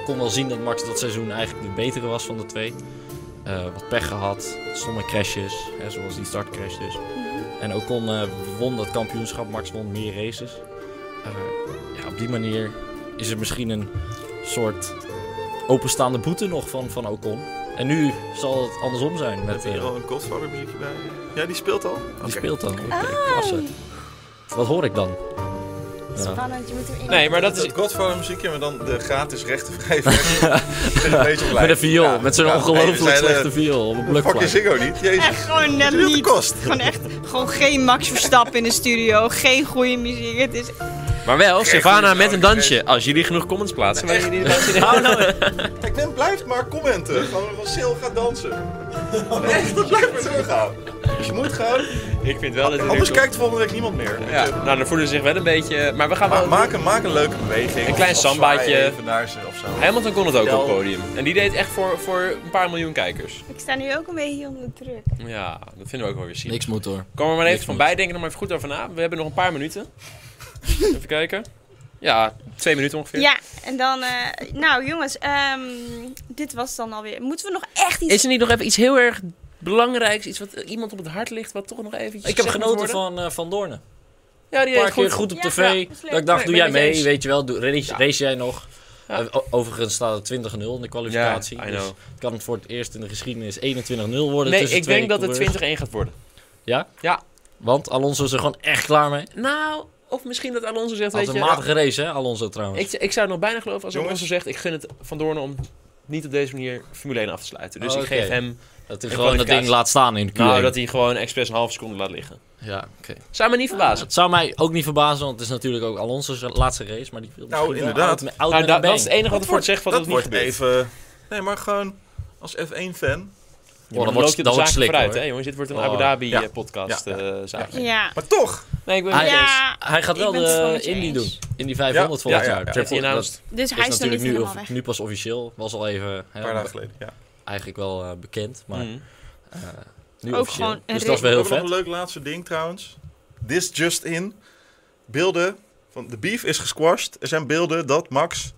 C: kon wel zien dat Max dat seizoen eigenlijk de betere was van de twee. Eh, wat pech gehad, stomme crashes, hè, zoals die startcrash dus. En Ocon eh won dat kampioenschap, Max won meer races. Eh, ja, op die manier is er misschien een soort openstaande boete nog van, van Ocon. En nu zal het andersom zijn met...
B: Heb je hier
C: eh,
B: al een Godfather muziekje bij? Ja, die speelt al.
C: die speelt dan. Oké,
D: Oh,
A: Ah.
C: klasse. Wat hoor ik dan? Ja.
D: spannend. Je moet hem in.
A: Nee, maar dat
B: Dat is
A: is...
B: het Godfather muziekje, maar dan de gratis rechtenvrij versie. Ik ben een beetje blij.
C: Met een viool,
B: Ja,
C: met zo'n
B: ja.
C: ongelooflijk
B: Hey, we zijn, eh,
C: slechte viool op een
B: Fuck je
C: blokfluit.
B: Ziggo niet? Jezus.
D: Echt gewoon net
B: Wat het
D: niet.
B: kost.
D: Gewoon echt, gewoon geen Max Verstappen in de studio. Geen goede muziek. Het is...
A: Maar wel, Sylvana
B: goeie
A: met een
B: vrouw,
A: dansje. Als jullie genoeg comments plaatsen. waar jullie-
B: Ik ben blijft maar commenten. Gewoon van Sil gaat dansen. Echt, dat blijft maar doorgaan. Dus je moet gewoon
A: Ik vind wel dat het
B: Anders
A: er komt.
B: kijkt volgende week niemand meer. Weet je.
A: Ja, nou, dan voelen ze zich wel een beetje... Maar we gaan
B: Ma-
A: wel...
B: maak, een, maak een leuke beweging.
A: Een klein
B: Of- of zwaai
A: sambaatje.
B: even naar ze of zo.
A: Hamilton kon het ook
B: Vertel.
A: op het podium. En die deed echt voor, voor een paar miljoen kijkers.
D: Ik sta nu ook een beetje onder de druk.
A: Ja, dat vinden we ook wel weer ziek.
C: Niks moet hoor.
A: Kom er maar even
C: niks
A: van
C: moet.
A: bij, denk er nog maar even goed over na. We hebben nog een paar minuten. even kijken. Ja, twee minuten ongeveer.
D: Ja, en dan... eh, nou, jongens, ehm, dit was dan alweer. Moeten we nog echt iets...
A: Is er niet nog even iets heel erg belangrijks? Iets wat eh, iemand op het hart ligt, wat toch nog eventjes
C: Ik heb
A: gezegd moet
C: genoten
A: worden?
C: van eh, Van Doornen.
A: Ja, die
C: Een paar
A: deed
C: keer
A: goed.
C: goed op
D: Ja,
C: tv.
D: ja, dat is leuk.
C: dat ik
A: Nee,
C: dacht, doe
A: ben
C: jij
A: ik mee
C: mee,
A: eens.
C: weet je wel. Doe, race,
A: Ja.
C: race jij nog.
A: Ja.
C: Eh, o- overigens staat het 20-0 in de kwalificatie.
A: Ja, I
C: dus
A: know.
C: het kan het voor het eerst in de geschiedenis 21-0 worden
A: Nee,
C: tussen
A: ik
C: twee
A: denk dat het
C: coureurs.
A: 20-1 gaat worden.
C: Want Alonso is er gewoon echt klaar mee.
A: Nou, of misschien dat Alonso zegt,
C: Had
A: weet
C: een
A: je...
C: matige race, hè, Alonso trouwens.
A: Ik, ik zou het nog bijna geloven als
B: Jongens.
A: Alonso zegt, ik gun het Van Doorn om niet op deze manier Formule 1 af te sluiten. Dus
C: Oh,
A: ik geef
C: oké.
A: hem...
C: dat hij
A: in
C: gewoon dat ding
A: kwalificatie.
C: laat staan in de Q1.
A: Nou, dat hij gewoon expres een halve seconde laat liggen.
C: Ja, oké.
A: Zou me niet verbazen.
C: Het zou mij ook niet verbazen, want het is natuurlijk ook Alonso's laatste race. Maar die wil
B: Nou,
C: misschien wel
B: inderdaad.
C: Oud, oud
A: Nou,
C: met
A: dat,
C: een
A: dat
C: been.
A: is het enige wat ervoor
B: wordt-
A: zegt van dat,
B: dat
A: het niet
B: wordt
A: gebeurt.
B: even... Nee, maar gewoon als F1-fan.
A: Ja, maar
C: Oh,
A: dan
C: dat
A: loop
C: wordt,
A: je
C: dat
A: de
C: wordt
A: zaak
C: slik,
A: vooruit,
C: hoor.
A: hè jongens. Dit wordt een
C: Oh.
A: Abu Dhabi
B: Ja.
A: eh, podcast
B: Ja.
A: eh zaakje.
D: Ja.
B: Maar toch!
A: Nee, ik ben
C: Hij-
A: het niet eens.
D: Ja,
C: Hij gaat wel
D: Ik ben het gewoon
C: de
D: met je
C: Indy
D: eens.
C: doen. Indy 500
B: Ja,
C: volgend
B: ja,
C: jaar.
B: ja.
A: Dat heeft hij nou-
C: Dat
A: announced.
D: dus hij
C: is
D: is nog niet
C: natuurlijk nu,
D: helemaal
C: of,
D: weg.
C: nu pas officieel. Was al even hè,
B: Een paar dagen geleden. Ja.
C: eigenlijk wel eh, bekend, maar
A: Mm.
C: nu
D: Ook
C: officieel.
D: gewoon een
C: dus dat is
B: We
C: wel
B: hebben
C: heel
B: nog
C: vet.
B: een leuk laatste ding trouwens. This just in. Beelden van de beef is gesquashed. Er zijn beelden dat Max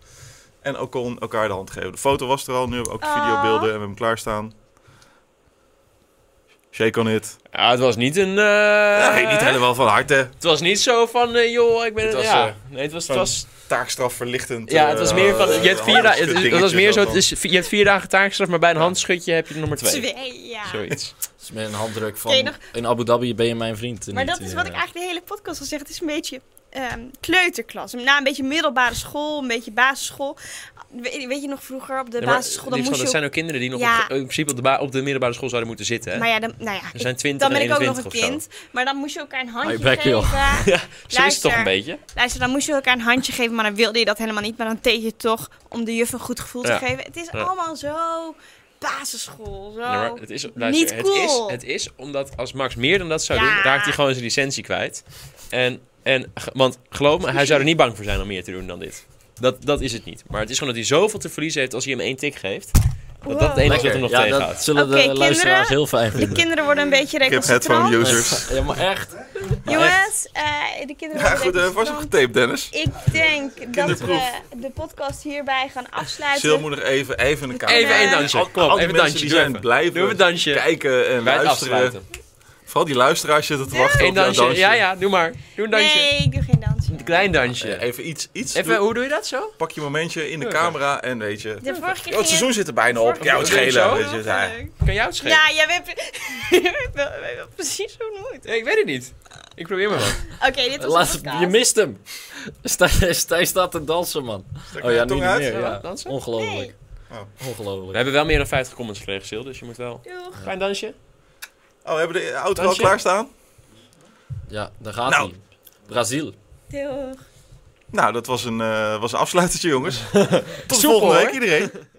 B: en Ocon elkaar de hand geven. De foto was er al. Nu hebben we ook de
D: Ah.
B: videobeelden en we hebben hem klaarstaan. Shake on it.
A: Ja, het was niet een... eh,
B: nee, niet helemaal van harte.
A: Het was niet zo van, eh, joh, ik ben...
B: Het was,
A: ja.
B: eh,
A: nee, het was, het
B: van- eh,
A: was...
B: Taakstraf verlichtend.
A: Ja, het was meer van... Je hebt vier, da- het, het was meer zo, het is, je hebt vier dagen taakstraf, maar bij een
B: Ja.
A: handschutje heb je er nummer twee.
D: Twee, ja.
A: Zoiets.
C: Dus met een handdruk
D: Ken je
C: van
D: nog-
C: in Abu Dhabi ben je mijn vriend. en
D: Maar
C: niet,
D: dat is
C: eh,
D: wat ik eigenlijk de hele podcast al zeg. Het is een beetje ehm, kleuterklas. Na een beetje middelbare school, een beetje basisschool. We- weet je nog vroeger op de
A: Nee, maar,
D: basisschool? Dan
A: liefst van,
D: moest je
A: dat zijn ook kinderen die nog
D: Ja.
A: op, in principe op de, ba- op de middelbare school zouden moeten zitten. Hè?
D: Maar ja, dan, nou ja,
A: er
D: ik-
A: zijn 20
D: dan ben
A: en
D: ik ook nog
A: 21
D: een
A: of zo.
D: kind. Maar dan moest je elkaar
B: Oh,
D: een handje
C: je bek,
D: geven.
C: joh.
A: Zo is het toch
D: Luister.
A: een beetje.
D: Luister, dan moest je elkaar een handje geven, maar dan wilde je dat helemaal niet. Maar dan deed je het toch om de juf een goed gevoel te
A: Ja.
D: geven. Het is
A: Ja.
D: allemaal zo basisschool. Zo.
A: Ja, maar het is, luister,
D: Oh. niet
A: het,
D: cool.
A: is, het is omdat als Max meer dan dat zou
D: Ja.
A: doen, raakt hij gewoon zijn licentie kwijt. En, en, ge- want geloof me, hij zou er niet bang voor zijn om meer te doen dan dit. Dat, dat is het niet. Maar het is gewoon dat hij zoveel te verliezen heeft als hij hem één tik geeft. Dat dat het enige is wat hem nog
C: ja, dat
A: tegenhoudt.
C: zullen de
D: Oké, kinderen.
C: luisteraars heel fijn
D: De
C: vinden.
D: kinderen worden een beetje
B: Ik heb headphone
D: recalcitrant.
B: users.
C: Ja, maar echt. Maar echt.
D: Jongens, eh, de kinderen
B: Ja,
D: worden
B: goed. eh, Was
D: recalcitrant.
B: op getaped, Dennis.
D: Ik denk dat we
B: Kinderproef.
D: de podcast hierbij gaan
B: Sil
D: afsluiten.
B: moet nog even, even een kamer.
A: Even
D: één
A: een
D: Eh,
A: dansje.
B: Al-
A: Kom
B: al
A: op,
B: die
A: even een
B: mensen
A: dansje.
B: die zijn
A: Doe
B: blijven
A: even een dansje.
B: kijken en
A: Bij het
B: luisteren.
A: afsluiten.
B: Vooral die luisteraars zitten te wachten
A: Eén
B: op jouw
A: dansje.
B: dansje.
A: Ja, ja, doe maar. Doe een dansje.
D: Nee, ik doe geen dansje.
A: Een klein dansje.
B: Eh, Even iets, iets.
A: Even,
B: doe-
A: hoe doe je dat zo?
B: pak je momentje in de
A: Oké.
B: camera en weet je.
D: De vorige keer
B: Oh, het
D: ging
B: seizoen zit er bijna op. Ja, het
A: Doe je
B: schelen.
A: zo?
B: Weet je, ja.
A: Kan jou het schelen?
D: Ja, jij weet, jij weet wel, jij weet wel precies hoe het moet.
A: Ik weet het niet. Ik probeer maar wat.
D: Oké, dit was
C: Laatste-
D: de podcast.
C: je mist hem. Stijn Stijn staat te dansen, man.
B: Stak
C: Oh ja,
B: mijn
C: nu
B: tong
C: niet
B: uit.
C: meer.
A: Ja,
C: Ja.
A: dansen?
C: Ongelooflijk.
B: Nee. Oh.
A: We
C: Ongelooflijk.
A: hebben wel meer dan 50 comments gekregen, Sil, dus je moet wel...
D: Doeg.
A: Klein dansje.
B: Oh, we hebben de auto al
A: Dansje?
B: klaarstaan?
C: Ja, daar gaat
B: Nou.
C: hij. Brazil.
D: Doeg.
B: Nou, dat was een, eh was een afsluitertje, jongens. Tot de
A: Soepel,
B: volgende week,
A: hoor.
B: iedereen.